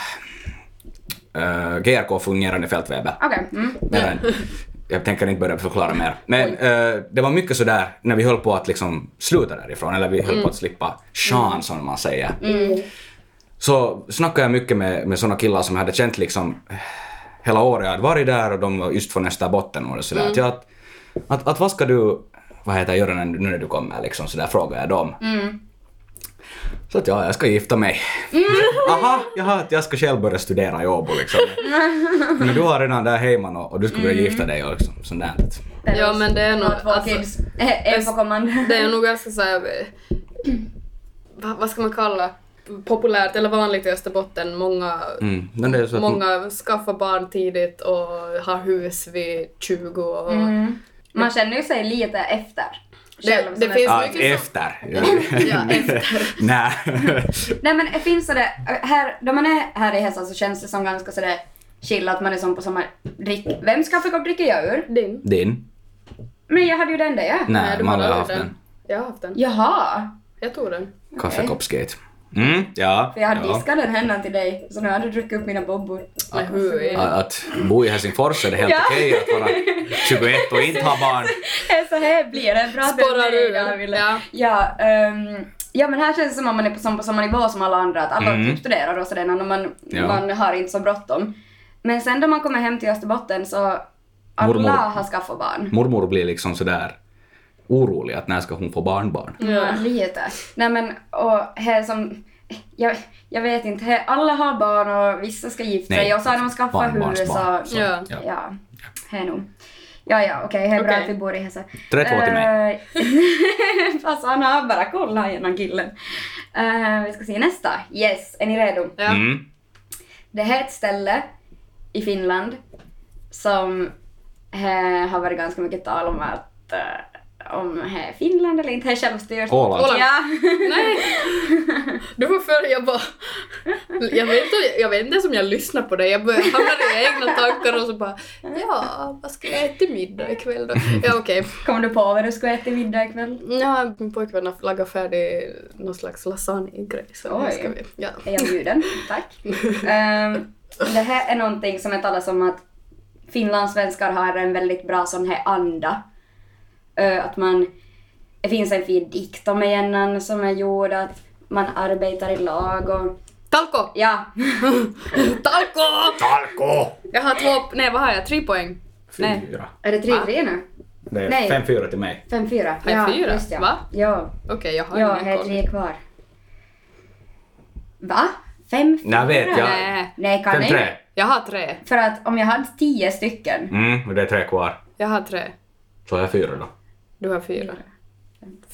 [SPEAKER 3] äh, GRK, fungerande fältväbe.
[SPEAKER 2] Okej. Mm.
[SPEAKER 3] Mer än, jag tänker inte börja förklara mer. Men eh, det var mycket sådär när vi höll på att liksom sluta därifrån, eller vi höll på att slippa shan som man säger. Så snackade jag mycket med, med såna killar som jag hade känt liksom eh, hela året. Jag hade varit där och de var just från Österbotten och sådär. Att, jag, att, att, att vad ska du, vad heter det, göra när, nu när du kommer liksom sådär frågade jag dem. Så att ja, jag ska gifta mig. Aha, jaha, att jag ska själv börja studera i Åbo liksom. Men du har redan där hemman och, och du ska börja gifta
[SPEAKER 1] Mm.
[SPEAKER 3] dig och liksom, sånt där.
[SPEAKER 1] Ja, men det är nog-
[SPEAKER 2] Två
[SPEAKER 1] alltså-
[SPEAKER 2] kids. Eh, En på kommande.
[SPEAKER 1] Det är nog ganska såhär... Va, vad ska man kalla? Populärt eller vanligt i Österbotten. Många,
[SPEAKER 3] Mm. Men det är så att
[SPEAKER 1] många skaffar barn tidigt och har hus vid 20 och...
[SPEAKER 2] Mm. Man känner ju sig lite efter.
[SPEAKER 1] Det-
[SPEAKER 2] Själv som
[SPEAKER 1] det
[SPEAKER 2] ett-
[SPEAKER 1] finns-
[SPEAKER 3] Ja,
[SPEAKER 1] mycket som-
[SPEAKER 3] efter.
[SPEAKER 1] Ja, efter.
[SPEAKER 3] Nej.
[SPEAKER 2] Nej men det finns sådär, här, då man är här i Hesa så känns det som ganska sådär chill att man är som på samma drick. Vems kaffekopp dricker jag ur?
[SPEAKER 1] Din?
[SPEAKER 3] Din?
[SPEAKER 2] Men jag hade ju den där ja.
[SPEAKER 3] Nej,
[SPEAKER 1] du
[SPEAKER 3] man
[SPEAKER 1] har
[SPEAKER 3] har
[SPEAKER 1] aldrig
[SPEAKER 3] haft
[SPEAKER 1] den.
[SPEAKER 3] en
[SPEAKER 1] Jag har haft den.
[SPEAKER 2] Jaha.
[SPEAKER 1] Jag tog den.
[SPEAKER 3] kaffekoppsgate. Mm, ja.
[SPEAKER 2] För jag har
[SPEAKER 3] ja.
[SPEAKER 2] diskat den händan till dig, så nu har du druckit upp mina bobbor.
[SPEAKER 1] Men hui.
[SPEAKER 3] Att, att bo i Helsingfors är det helt
[SPEAKER 2] Ja.
[SPEAKER 3] okej att vara 21 och inte ha barn.
[SPEAKER 2] Eh, Så här blir det. Bra att du är
[SPEAKER 1] Sporrar
[SPEAKER 2] med
[SPEAKER 1] ur
[SPEAKER 2] idag,
[SPEAKER 1] den.
[SPEAKER 2] Ville.
[SPEAKER 1] Ja.
[SPEAKER 2] Ja, ehm, ja, men här känns det som att man är på, som på samma nivå som alla andra, att alla
[SPEAKER 3] Mm.
[SPEAKER 2] typ studerar och sådär, och man,
[SPEAKER 3] Ja.
[SPEAKER 2] man har inte så bråttom. Men sen då man kommer hem till Österbotten så alla
[SPEAKER 3] Mormor.
[SPEAKER 2] har skaffat barn.
[SPEAKER 3] Mormor blir liksom sådär orolig att när ska hon få barnbarn?
[SPEAKER 2] Ja, lite. Nej men, och här som... Jag, jag vet inte, här, alla har barn och vissa ska gifta
[SPEAKER 3] Nej,
[SPEAKER 2] sig och så har de skaffat hus och...
[SPEAKER 3] barnbarnsbarn. Så,
[SPEAKER 1] Ja.
[SPEAKER 3] ja.
[SPEAKER 2] Ja, här nog. Ja, ja, okej, här är bra
[SPEAKER 1] Okej.
[SPEAKER 2] att vi bor i Hesa.
[SPEAKER 3] 32 till
[SPEAKER 2] mig. Fast han har bara kollat genom killen. Eh, vi ska se nästa. Yes, är ni redo?
[SPEAKER 1] Ja.
[SPEAKER 3] Mm.
[SPEAKER 2] Det här är ett ställe i Finland som eh, har varit ganska mycket tal om att eh, om eh, Finland eller inte är självstyrt.
[SPEAKER 3] Åland.
[SPEAKER 1] Åland.
[SPEAKER 2] Ja.
[SPEAKER 1] Nej! Du får för jag bara... Jag vet, inte- jag vet inte ens om jag lyssnar på dig. Jag börjar hamna i egna tankar och så bara... Ja, vad ska jag äta till middag ikväll då? Ja, okej.
[SPEAKER 2] Kommer du på vad du ska äta till middag ikväll?
[SPEAKER 1] Ja, min pojkvän har lagat färdig någon slags lasagne-grej. Så nu
[SPEAKER 2] Oj.
[SPEAKER 1] ska vi... Ja.
[SPEAKER 2] Är jag bjuden? Tack. Ehm, det här är någonting som jag talas om att finlandssvenskar har en väldigt bra sån här anda. Eh, att man... Det finns en fin dikt om igen som är gjord att man arbetar i lag och...
[SPEAKER 1] Talko!
[SPEAKER 2] Ja.
[SPEAKER 1] Talko!
[SPEAKER 3] Talko!
[SPEAKER 1] Jag har två... Nej, vad har jag? Tre poäng? Nej.
[SPEAKER 3] Fyra.
[SPEAKER 2] Är det 3-3 nu?
[SPEAKER 3] Det
[SPEAKER 2] Nej.
[SPEAKER 3] är 5-4 till mig.
[SPEAKER 2] 5-4?
[SPEAKER 1] Fem,
[SPEAKER 2] ja,
[SPEAKER 1] fyra?
[SPEAKER 2] Just ja.
[SPEAKER 1] Va?
[SPEAKER 2] Ja,
[SPEAKER 1] Okej, jag har
[SPEAKER 2] ja här
[SPEAKER 1] ingen
[SPEAKER 2] är
[SPEAKER 1] koll.
[SPEAKER 2] tre kvar. Va? 5-4?
[SPEAKER 3] Nej, vet jag.
[SPEAKER 1] Nej,
[SPEAKER 2] Nej, kan jag
[SPEAKER 3] 5-3.
[SPEAKER 2] inte.
[SPEAKER 1] jag har tre.
[SPEAKER 2] För att om jag hade 10 stycken
[SPEAKER 3] Mm, och det är tre kvar.
[SPEAKER 1] Jag har tre.
[SPEAKER 3] Så jag har fyra då.
[SPEAKER 1] Du har fyra.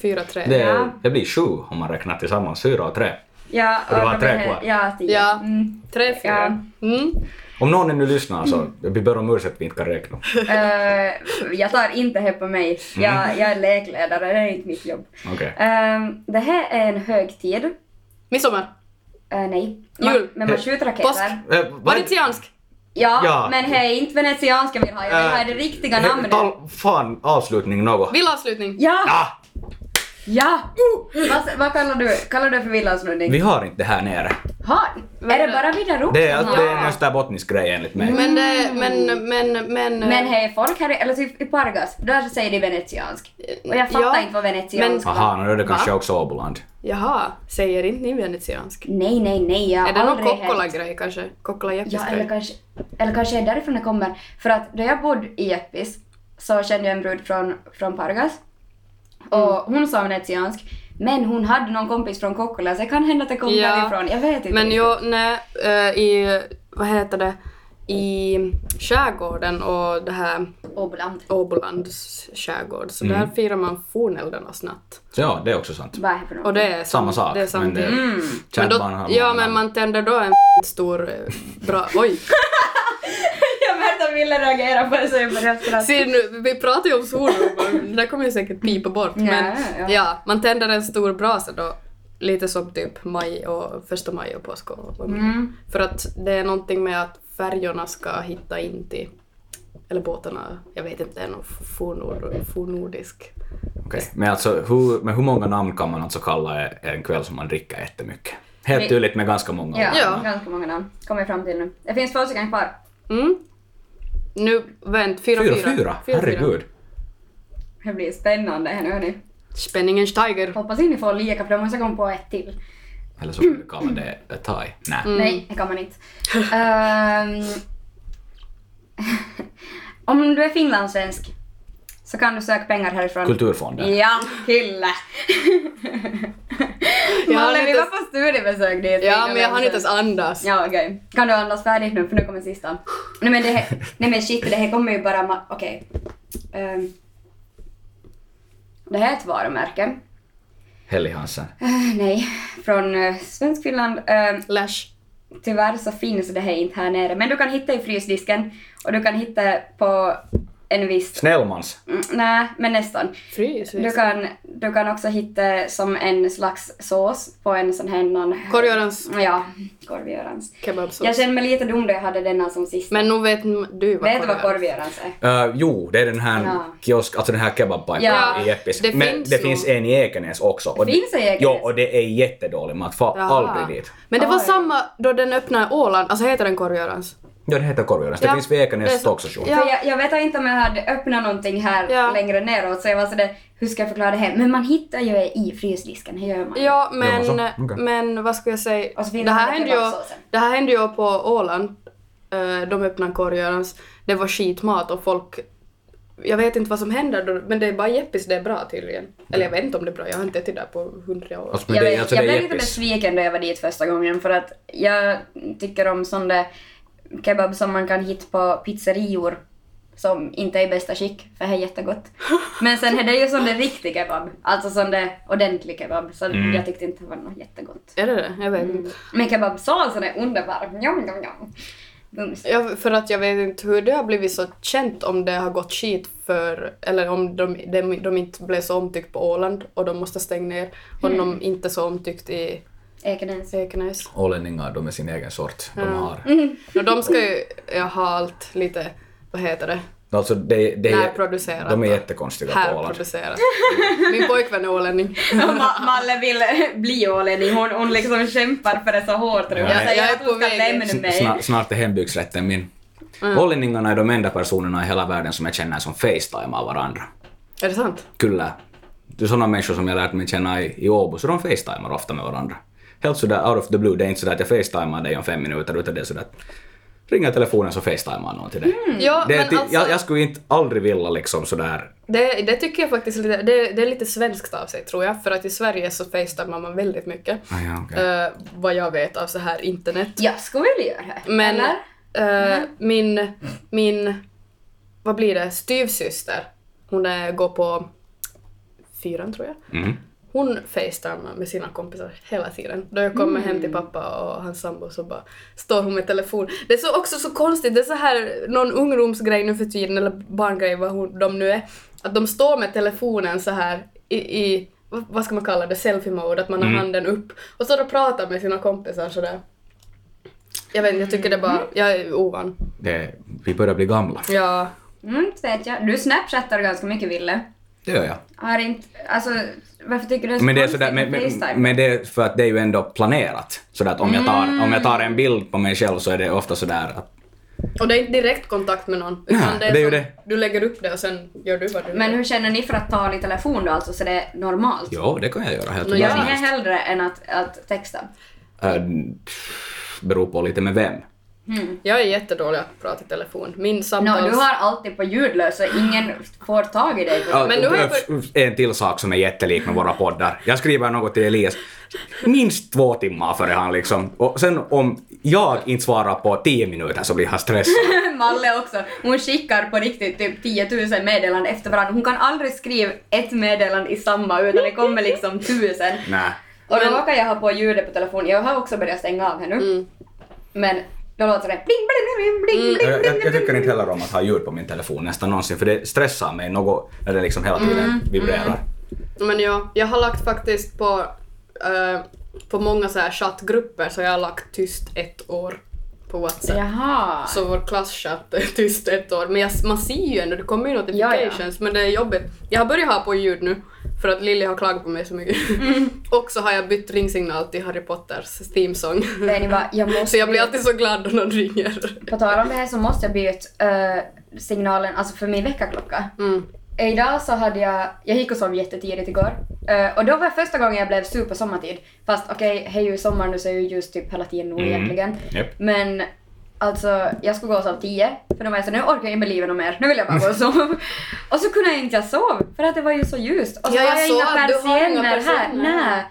[SPEAKER 1] Fyra, tre.
[SPEAKER 3] Det,
[SPEAKER 2] Ja.
[SPEAKER 3] det blir sju om man räknar tillsammans, fyra och tre.
[SPEAKER 2] Ja,
[SPEAKER 3] Och det var
[SPEAKER 2] de
[SPEAKER 3] tre
[SPEAKER 2] är-
[SPEAKER 3] kvar.
[SPEAKER 2] Ja, tio.
[SPEAKER 1] Ja.
[SPEAKER 2] Mm.
[SPEAKER 1] Tre, fyra. Mm.
[SPEAKER 3] Om någon ännu lyssnar så vi ber om ursäkt att vi inte kan räkna.
[SPEAKER 2] Eh, jag tar inte här på mig. Jag, jag är lekledare, det är inte mitt jobb.
[SPEAKER 3] Mm. Okej.
[SPEAKER 2] Ehm, det här är en högtid.
[SPEAKER 1] Midsommar.
[SPEAKER 2] Eh, nej.
[SPEAKER 1] Jul.
[SPEAKER 2] Man, men man skjuter raketer.
[SPEAKER 1] Påsk.
[SPEAKER 3] Eh, vad-
[SPEAKER 1] Venetiansk.
[SPEAKER 2] Ja,
[SPEAKER 3] Ja.
[SPEAKER 2] men det är inte venetianska vi har. Jag vill ha det riktiga
[SPEAKER 3] Eh,
[SPEAKER 2] namnet.
[SPEAKER 3] Tal, fan, avslutning något.
[SPEAKER 1] Villavslutning.
[SPEAKER 2] Ja!
[SPEAKER 3] Ah,
[SPEAKER 2] Ja! Vad, vad kallar du, kallar du för villandsnurrning?
[SPEAKER 3] vi har inte det här nere.
[SPEAKER 2] Ha, är det bara Vidarup
[SPEAKER 3] Det är,
[SPEAKER 2] som har-
[SPEAKER 3] det är en österbottnisk grej enligt mig.
[SPEAKER 1] Men, det, men, men, men... eh,
[SPEAKER 2] Men hej folk här, i- eller typ i Pargas, där säger de venetiansk. Och jag fattar
[SPEAKER 1] Ja,
[SPEAKER 2] inte vad venetiansk var.
[SPEAKER 3] Aha, nu är det kanske
[SPEAKER 1] Va?
[SPEAKER 3] också Åboland.
[SPEAKER 1] Jaha, säger inte ni venetiansk?
[SPEAKER 2] Nej, nej, nej, jag har
[SPEAKER 1] Är det någon
[SPEAKER 2] aldrig hört-
[SPEAKER 1] Kokkola-grej kanske?
[SPEAKER 2] Ja,
[SPEAKER 1] Kokkola-japansk
[SPEAKER 2] eller
[SPEAKER 1] grej?
[SPEAKER 2] kanske, eller kanske är det därifrån det kommer. För att då jag bodde i Jeppis så kände jag en brud från, från Pargas. Och
[SPEAKER 1] Mm.
[SPEAKER 2] hon sa venetiansk. Men hon hade någon kompis från Kokkola så det kan hända att det kom
[SPEAKER 1] Ja.
[SPEAKER 2] därifrån. Jag vet inte.
[SPEAKER 1] Men
[SPEAKER 2] riktigt.
[SPEAKER 1] jo, nej, eh, i... Vad heter det? I skärgården och det här
[SPEAKER 2] Åboland.
[SPEAKER 1] Åbolands skärgård, så
[SPEAKER 3] Mm.
[SPEAKER 1] där firar man forneldernas natt.
[SPEAKER 3] Så ja, det är också sant.
[SPEAKER 2] Vad är det för något?
[SPEAKER 1] Och det är
[SPEAKER 3] Samma sak.
[SPEAKER 1] Det är samma.
[SPEAKER 3] men det,
[SPEAKER 1] Men
[SPEAKER 3] kärt barn
[SPEAKER 1] då,
[SPEAKER 3] har
[SPEAKER 1] ja,
[SPEAKER 3] många
[SPEAKER 1] men
[SPEAKER 3] namn.
[SPEAKER 1] man tänder då en stor eh, bra... Oj!
[SPEAKER 2] jag märkte att Ville reagerade på det så jag började skratta.
[SPEAKER 1] Se nu, vi pratar ju om solrobbar, det där kommer ju säkert pipa bort.
[SPEAKER 2] Ja,
[SPEAKER 1] men
[SPEAKER 2] ja.
[SPEAKER 1] ja. man tänder en stor brasa då, lite som typ maj och första maj och påsk. Och,
[SPEAKER 2] Mm.
[SPEAKER 1] och- För att det är någonting med att färjorna ska hitta in till, eller båtarna, jag vet inte, det är någon fornord, fornordisk.
[SPEAKER 3] Okej, Men, alltså, hur, men hur många namn kan man alltså kalla en kväll som man dricker jättemycket? Helt tydligt med ganska många
[SPEAKER 2] Ja,
[SPEAKER 1] Ja.
[SPEAKER 2] ganska många namn. Kommer jag fram till nu. Det finns två stycken kvar.
[SPEAKER 1] Mm. Nu, vänt, fyra,
[SPEAKER 3] Fyra,
[SPEAKER 1] fyra.
[SPEAKER 3] fyra? Herregud.
[SPEAKER 2] Det blir spännande här nu hörni.
[SPEAKER 1] Spänningen stiger.
[SPEAKER 2] Hoppas inte ni får leka för då måste jag komma på ett till.
[SPEAKER 3] Eller så kan vi kalla det eh, thai. Nej.
[SPEAKER 1] Mm.
[SPEAKER 2] Nej, det kan man inte. Ehm, om du är finlandssvensk så kan du söka pengar härifrån.
[SPEAKER 3] Kulturfonden.
[SPEAKER 2] Ja, kille!
[SPEAKER 1] Jag har
[SPEAKER 2] Malle, vi
[SPEAKER 1] inte-
[SPEAKER 2] var på studiebesök dit.
[SPEAKER 1] Ja, men jag hann inte ens andas.
[SPEAKER 2] Ja, okej. Kan du andas färdigt nu för nu kommer sista. Nej men, det här, nej, men shit, det här kommer ju bara... ma- Okej. Ehm, det här är ett varumärke.
[SPEAKER 3] Helly Hansen.
[SPEAKER 2] Eh, nej, från uh, svensk Finland. Ehm,
[SPEAKER 1] Lash.
[SPEAKER 2] Tyvärr så finns det här inte här nere, men du kan hitta i frysdisken och du kan hitta på en viss...
[SPEAKER 3] Snellmans.
[SPEAKER 2] Mm, nej, men nästan.
[SPEAKER 1] Frys.
[SPEAKER 2] Du kan, du kan också hitta som en slags sås på en sån här... Någon...
[SPEAKER 1] Korvgörans
[SPEAKER 2] Ja, korvgörans.
[SPEAKER 1] kebabsås.
[SPEAKER 2] Jag känner mig lite dum då jag hade denna som sista.
[SPEAKER 1] Men nog vet n- du vad
[SPEAKER 2] Vet du vad
[SPEAKER 1] korvgörans-
[SPEAKER 2] korvgörans är?
[SPEAKER 3] Uh, jo, det är den här
[SPEAKER 2] Ja.
[SPEAKER 3] kiosk, alltså den här kebabpajpan
[SPEAKER 2] Ja,
[SPEAKER 3] i Jeppis.
[SPEAKER 1] det
[SPEAKER 3] Men
[SPEAKER 1] finns
[SPEAKER 3] det
[SPEAKER 1] ju.
[SPEAKER 3] finns en i Ekenäs också. Och
[SPEAKER 2] Finns det i Ekenäs?
[SPEAKER 3] Jo, och det är jättedålig mat. Få
[SPEAKER 1] Jaha.
[SPEAKER 3] aldrig dit.
[SPEAKER 1] Men det var
[SPEAKER 2] Ah, ja.
[SPEAKER 1] samma då den öppnade i Åland, alltså heter den korvgörans?
[SPEAKER 3] Ja, det heter korvgörans. Det
[SPEAKER 1] Ja,
[SPEAKER 3] finns vid
[SPEAKER 1] det är
[SPEAKER 3] Ekenäs
[SPEAKER 1] så.
[SPEAKER 3] tågstation.
[SPEAKER 1] Ja.
[SPEAKER 2] För jag, jag vet inte om jag hade öppnat någonting här
[SPEAKER 1] Ja.
[SPEAKER 2] längre neråt så jag var sådär, hur ska jag förklara det här? Men man hittar ju i frysdisken, hur gör man?
[SPEAKER 1] Ja, men,
[SPEAKER 3] Gör man så? Okej.
[SPEAKER 1] men vad skulle jag säga?
[SPEAKER 2] Och så finns
[SPEAKER 1] Det här,
[SPEAKER 2] den
[SPEAKER 1] hände
[SPEAKER 2] där
[SPEAKER 1] ju,
[SPEAKER 2] kebabsåsen.
[SPEAKER 1] det här hände ju på Åland. Eh, De öppnade korvgörans. Det var skitmat och folk... Jag vet inte vad som händer då, men det är bara Jeppis det är bra tydligen. Eller jag vet inte om det är bra, jag har inte ätit där på hundra år.
[SPEAKER 3] Alltså, men
[SPEAKER 2] Jag,
[SPEAKER 3] det,
[SPEAKER 2] vet,
[SPEAKER 3] alltså,
[SPEAKER 2] jag
[SPEAKER 3] det är
[SPEAKER 2] blev lite
[SPEAKER 3] Jeppis.
[SPEAKER 2] besviken då jag var dit första gången för att jag tycker om sån där kebab som man kan hitta på pizzerior som inte är i bästa skick, för det är jättegott. Men sen är det ju sån där riktig kebab, alltså sån där ordentlig kebab, så
[SPEAKER 3] Mm.
[SPEAKER 2] jag tyckte inte det var något jättegott.
[SPEAKER 1] Är det det? Jag vet inte.
[SPEAKER 2] Men kebabsåsen är underbar, njam njam njam. Mums.
[SPEAKER 1] Jag, för att jag vet inte hur det har blivit så känt om det har gått skit för, eller om de, de, de inte blev så omtyckt på Åland och de måste stänga ner och de inte så omtyckt i
[SPEAKER 2] Ekenäs.
[SPEAKER 1] Ekenäs.
[SPEAKER 3] Ålänningar, de är sin egen sort. De har...
[SPEAKER 1] Och de ska ju ja, ha allt lite, vad heter det,
[SPEAKER 3] Alltså, det, det
[SPEAKER 1] Närproducerat
[SPEAKER 3] De är
[SPEAKER 1] och
[SPEAKER 3] jättekonstiga på Åland.
[SPEAKER 1] härproducerat. Min pojkvän är ålänning.
[SPEAKER 2] Ma- Malle vill bli ålänning, hon, hon liksom kämpar för det så hårt tror jag.
[SPEAKER 3] Ja,
[SPEAKER 2] säger
[SPEAKER 1] jag är
[SPEAKER 2] att
[SPEAKER 1] på
[SPEAKER 2] hon ska
[SPEAKER 1] vägen.
[SPEAKER 2] lämna
[SPEAKER 3] S-
[SPEAKER 2] mig.
[SPEAKER 3] Snart, snart är hembygdsrätten min.
[SPEAKER 1] Mm.
[SPEAKER 3] Ålänningarna är de enda personerna i hela världen som jag känner som facetimar varandra.
[SPEAKER 1] Är det sant?
[SPEAKER 3] Kyllä. Det är sådana människor som jag lärt mig känna i, i Åbo, så de facetimar ofta med varandra. Helt sådär out of the blue, det är inte sådär att jag facetimar dig om fem minuter, utan det är sådär att ringa telefonen så facetimar någon till dig.
[SPEAKER 1] Ja,
[SPEAKER 3] Det är
[SPEAKER 1] men
[SPEAKER 3] ty-
[SPEAKER 1] alltså,
[SPEAKER 3] jag, jag skulle inte aldrig vilja liksom sådär...
[SPEAKER 1] Det, det tycker jag faktiskt är lite, det, det är lite svenskt av sig tror jag, för att i Sverige så facetimar man väldigt mycket.
[SPEAKER 3] Ah, ja, okej.
[SPEAKER 1] Eh, vad jag vet av så här internet.
[SPEAKER 2] Jag skulle vilja göra det.
[SPEAKER 1] Men
[SPEAKER 2] Eller?
[SPEAKER 1] eh, min, min, vad blir det, styvsyster, hon är, går på fyran tror jag.
[SPEAKER 3] Mhm.
[SPEAKER 1] Hon facetimar med sina kompisar hela tiden. Då jag kommer hem till
[SPEAKER 3] Mm.
[SPEAKER 1] pappa och hans sambo så bara står hon med telefon. Det är så, också så konstigt, det är så här någon ungdomsgrej nu för tiden, eller barngrej vad hon, de nu är, att de står med telefonen så här i, i vad- vad ska man kalla det, selfie-mode, att man
[SPEAKER 3] Mm.
[SPEAKER 1] har handen upp och står och pratar med sina kompisar sådär. Jag vet inte, jag tycker det är
[SPEAKER 3] Mm.
[SPEAKER 1] bara, jag är ovan.
[SPEAKER 3] Det, vi börjar bli gamla.
[SPEAKER 1] Ja,
[SPEAKER 2] Mm, inte vet jag. Du snapchattar ganska mycket, Ville.
[SPEAKER 3] Det gör jag.
[SPEAKER 2] Har inte... Alltså, varför tycker du det är så
[SPEAKER 3] Men det, är
[SPEAKER 2] konstigt
[SPEAKER 3] sådär, men,
[SPEAKER 2] med
[SPEAKER 3] men,
[SPEAKER 2] Facetime?
[SPEAKER 3] men det är för att det är ju ändå planerat. Sådär att om, jag tar, om jag tar
[SPEAKER 1] Mm.
[SPEAKER 3] en bild på mig själv så är det ofta sådär att
[SPEAKER 1] och det är inte direkt kontakt med någon. utan
[SPEAKER 3] Nej, det är ju
[SPEAKER 1] som-
[SPEAKER 3] det.
[SPEAKER 1] Du lägger upp det och sen gör du vad du
[SPEAKER 2] Men
[SPEAKER 1] vill.
[SPEAKER 2] hur känner ni för att tala i telefon då, alltså så det är normalt?
[SPEAKER 3] jo, det kan jag göra helt
[SPEAKER 1] Nå,
[SPEAKER 2] Jag
[SPEAKER 1] Ja.
[SPEAKER 3] utan
[SPEAKER 2] ringer
[SPEAKER 3] angst.
[SPEAKER 2] hellre än att, att texta.
[SPEAKER 3] Äh, pff, beror på lite med vem. Äh,
[SPEAKER 1] Jag är jättedålig att prata i telefon. Min
[SPEAKER 2] Hmm. No,
[SPEAKER 1] samtals...
[SPEAKER 2] du har alltid på ljudlös så ingen får tag i dig. på-
[SPEAKER 3] Ja,
[SPEAKER 1] Men nu har jag
[SPEAKER 3] äh, f- f- En till sak som är jättelik med våra poddar. Jag skriver något till Elias minst två timmar före han liksom. Och sen om jag inte svarar på tio minuter så blir han stressad.
[SPEAKER 2] Malle också. Hon skickar på riktigt typ 10 000 meddelanden efter varandra. Hon kan aldrig skriva ett meddelande i samma utan det kommer liksom tusen.
[SPEAKER 3] Nej.
[SPEAKER 2] Och då
[SPEAKER 1] Men- Mm.
[SPEAKER 2] råkar jag ha på ljudet på telefonen. Jag har också börjat stänga av här nu. Men då låter det bling, bling, bling, bling, bling,
[SPEAKER 3] Jag,
[SPEAKER 2] bling,
[SPEAKER 3] jag,
[SPEAKER 2] bling,
[SPEAKER 3] jag
[SPEAKER 2] bling.
[SPEAKER 3] tycker inte heller om att ha ljud på min telefon nästan någonsin för det stressar mig något när det liksom hela
[SPEAKER 1] Mm,
[SPEAKER 3] tiden vibrerar.
[SPEAKER 1] Men jag, jag har lagt faktiskt på, eh, på många så här chattgrupper så jag har lagt tyst ett år på Whatsapp.
[SPEAKER 2] Jaha.
[SPEAKER 1] Så vår klasschatt är tyst ett år. Men jag, man ser ju ändå, det kommer ju notifications men det är jobbigt. Jag har börjat ha på ljud nu för att Lilly har klagat på mig så mycket.
[SPEAKER 2] Mm.
[SPEAKER 1] Och så har jag bytt ringsignal till Harry Potters theme-song.
[SPEAKER 2] Nej, ni bara, jag måste
[SPEAKER 1] Så jag blir
[SPEAKER 2] byta.
[SPEAKER 1] alltid så glad när någon ringer.
[SPEAKER 2] På tal om det här så måste jag byta eh, signalen, alltså för min väckarklocka.
[SPEAKER 1] Mm.
[SPEAKER 2] Idag så hade jag, jag gick och sov jättetidigt igår. Eh, och då var första gången jag blev sur på sommartid. Fast okej, okay, hej ju sommar nu så är ju ljus typ hela tiden nog
[SPEAKER 3] Mm.
[SPEAKER 2] egentligen.
[SPEAKER 3] Japp.
[SPEAKER 2] Men alltså, jag skulle gå och sova tio. För då var jag så nu orkar jag inte med livet något mer. Nu vill jag bara gå och sova. och så kunde jag inte jag sova för att det var ju så ljust. Och så
[SPEAKER 1] Ja,
[SPEAKER 2] har
[SPEAKER 1] jag
[SPEAKER 2] jag
[SPEAKER 1] såg
[SPEAKER 2] inga
[SPEAKER 1] att du har inga
[SPEAKER 2] persienner här.
[SPEAKER 1] persienner.
[SPEAKER 2] Nej.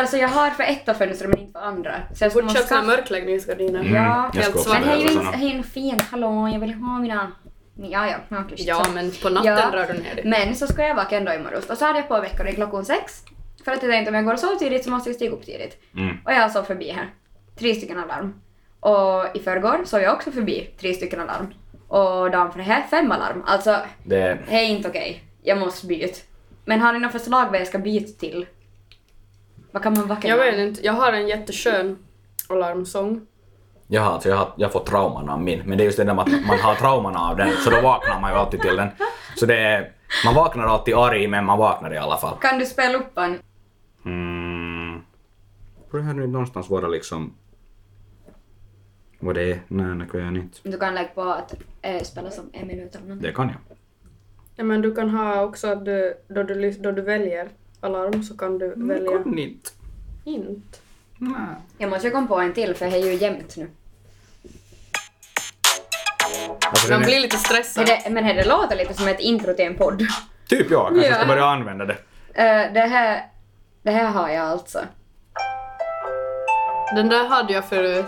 [SPEAKER 2] Alltså jag har för ett av fönstren men inte för andra. Så jag
[SPEAKER 1] Borde
[SPEAKER 2] skulle
[SPEAKER 1] köpa
[SPEAKER 2] skaffa-
[SPEAKER 1] såna mörkläggningsgardiner.
[SPEAKER 3] Mm,
[SPEAKER 2] Ja,
[SPEAKER 3] jag
[SPEAKER 1] helt
[SPEAKER 3] ska också
[SPEAKER 1] svart.
[SPEAKER 2] men hej,
[SPEAKER 3] behöva
[SPEAKER 2] hej,
[SPEAKER 3] såna.
[SPEAKER 2] hej, fint, hallå, jag vill ha mina... Ja, ja, ja, klart.
[SPEAKER 1] Ja,
[SPEAKER 2] Så-
[SPEAKER 1] men på natten drar du ner dig.
[SPEAKER 2] Men så ska jag vaka en dag i morgon och så hade jag på väckaren klockan sex. För att jag tänkte om jag går och sover tidigt så måste jag stiga upp tidigt.
[SPEAKER 3] Mm.
[SPEAKER 2] Och jag sov förbi här. Tre stycken alarm. Och i förrgår sov jag också förbi tre stycken alarm. och dagen för det här fem alarm. Alltså,
[SPEAKER 3] Det,
[SPEAKER 2] det är inte okej. Jag måste byta. Men har ni något förslag vad jag ska byta till? Vad kan man vackra
[SPEAKER 1] Jag vet inte, jag har en jätteskön alarmsång.
[SPEAKER 3] jag, har, alltså, jag, har, jag får trauman av min, men det är just det där med att man har trauman av den, så då vaknar man ju alltid till den. Så det är, man vaknar alltid arg, men man vaknar i alla fall.
[SPEAKER 2] Kan du spela upp en?
[SPEAKER 3] Mm. Borde här nu någonstans vara liksom... Vad det är? Nej, det kan jag inte.
[SPEAKER 2] Du kan lägga på att eh, spela som en minut eller något.
[SPEAKER 3] Det kan jag.
[SPEAKER 1] Ja, men du kan ha också att du, då, du, lys- då du väljer alarm så kan du
[SPEAKER 2] Mm,
[SPEAKER 1] välja
[SPEAKER 3] kan inte.
[SPEAKER 1] inte.
[SPEAKER 3] Nej.
[SPEAKER 2] Jag måste ju komma på en till för det är ju jämnt nu.
[SPEAKER 3] Alltså, den
[SPEAKER 1] Man
[SPEAKER 3] är-
[SPEAKER 1] blir lite
[SPEAKER 2] Är
[SPEAKER 1] stressad.
[SPEAKER 2] det, men det låter lite som ett intro till en podd.
[SPEAKER 3] Typ jag kanske
[SPEAKER 1] Ja.
[SPEAKER 3] ska börja använda det.
[SPEAKER 2] Eh, det, här, det här har jag alltså.
[SPEAKER 1] Den där hade jag förut.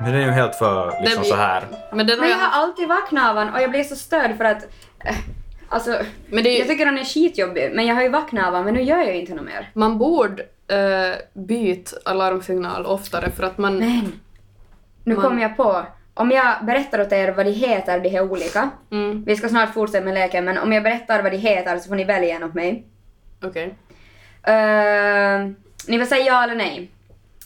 [SPEAKER 3] Men det är ju helt för liksom
[SPEAKER 1] blir-
[SPEAKER 3] så här.
[SPEAKER 1] Men, den har
[SPEAKER 2] Men jag
[SPEAKER 1] jag,
[SPEAKER 2] har alltid vaknat av han och jag blir så störd för att... eh, Alltså,
[SPEAKER 1] men det är
[SPEAKER 2] jag tycker han är skitjobbig men jag har ju vaknat av han men nu gör jag ju inte något mer.
[SPEAKER 1] Man borde uh, byta alarmsignal oftare för att man...
[SPEAKER 2] Men! Nu
[SPEAKER 1] Man-
[SPEAKER 2] kom jag på. Om jag berättar åt er vad de heter, de här olika.
[SPEAKER 1] Mm,
[SPEAKER 2] Vi ska snart fortsätta med leken men om jag berättar vad de heter så får ni välja en åt mig.
[SPEAKER 1] okej.
[SPEAKER 2] Eh, ni vill säga ja eller nej?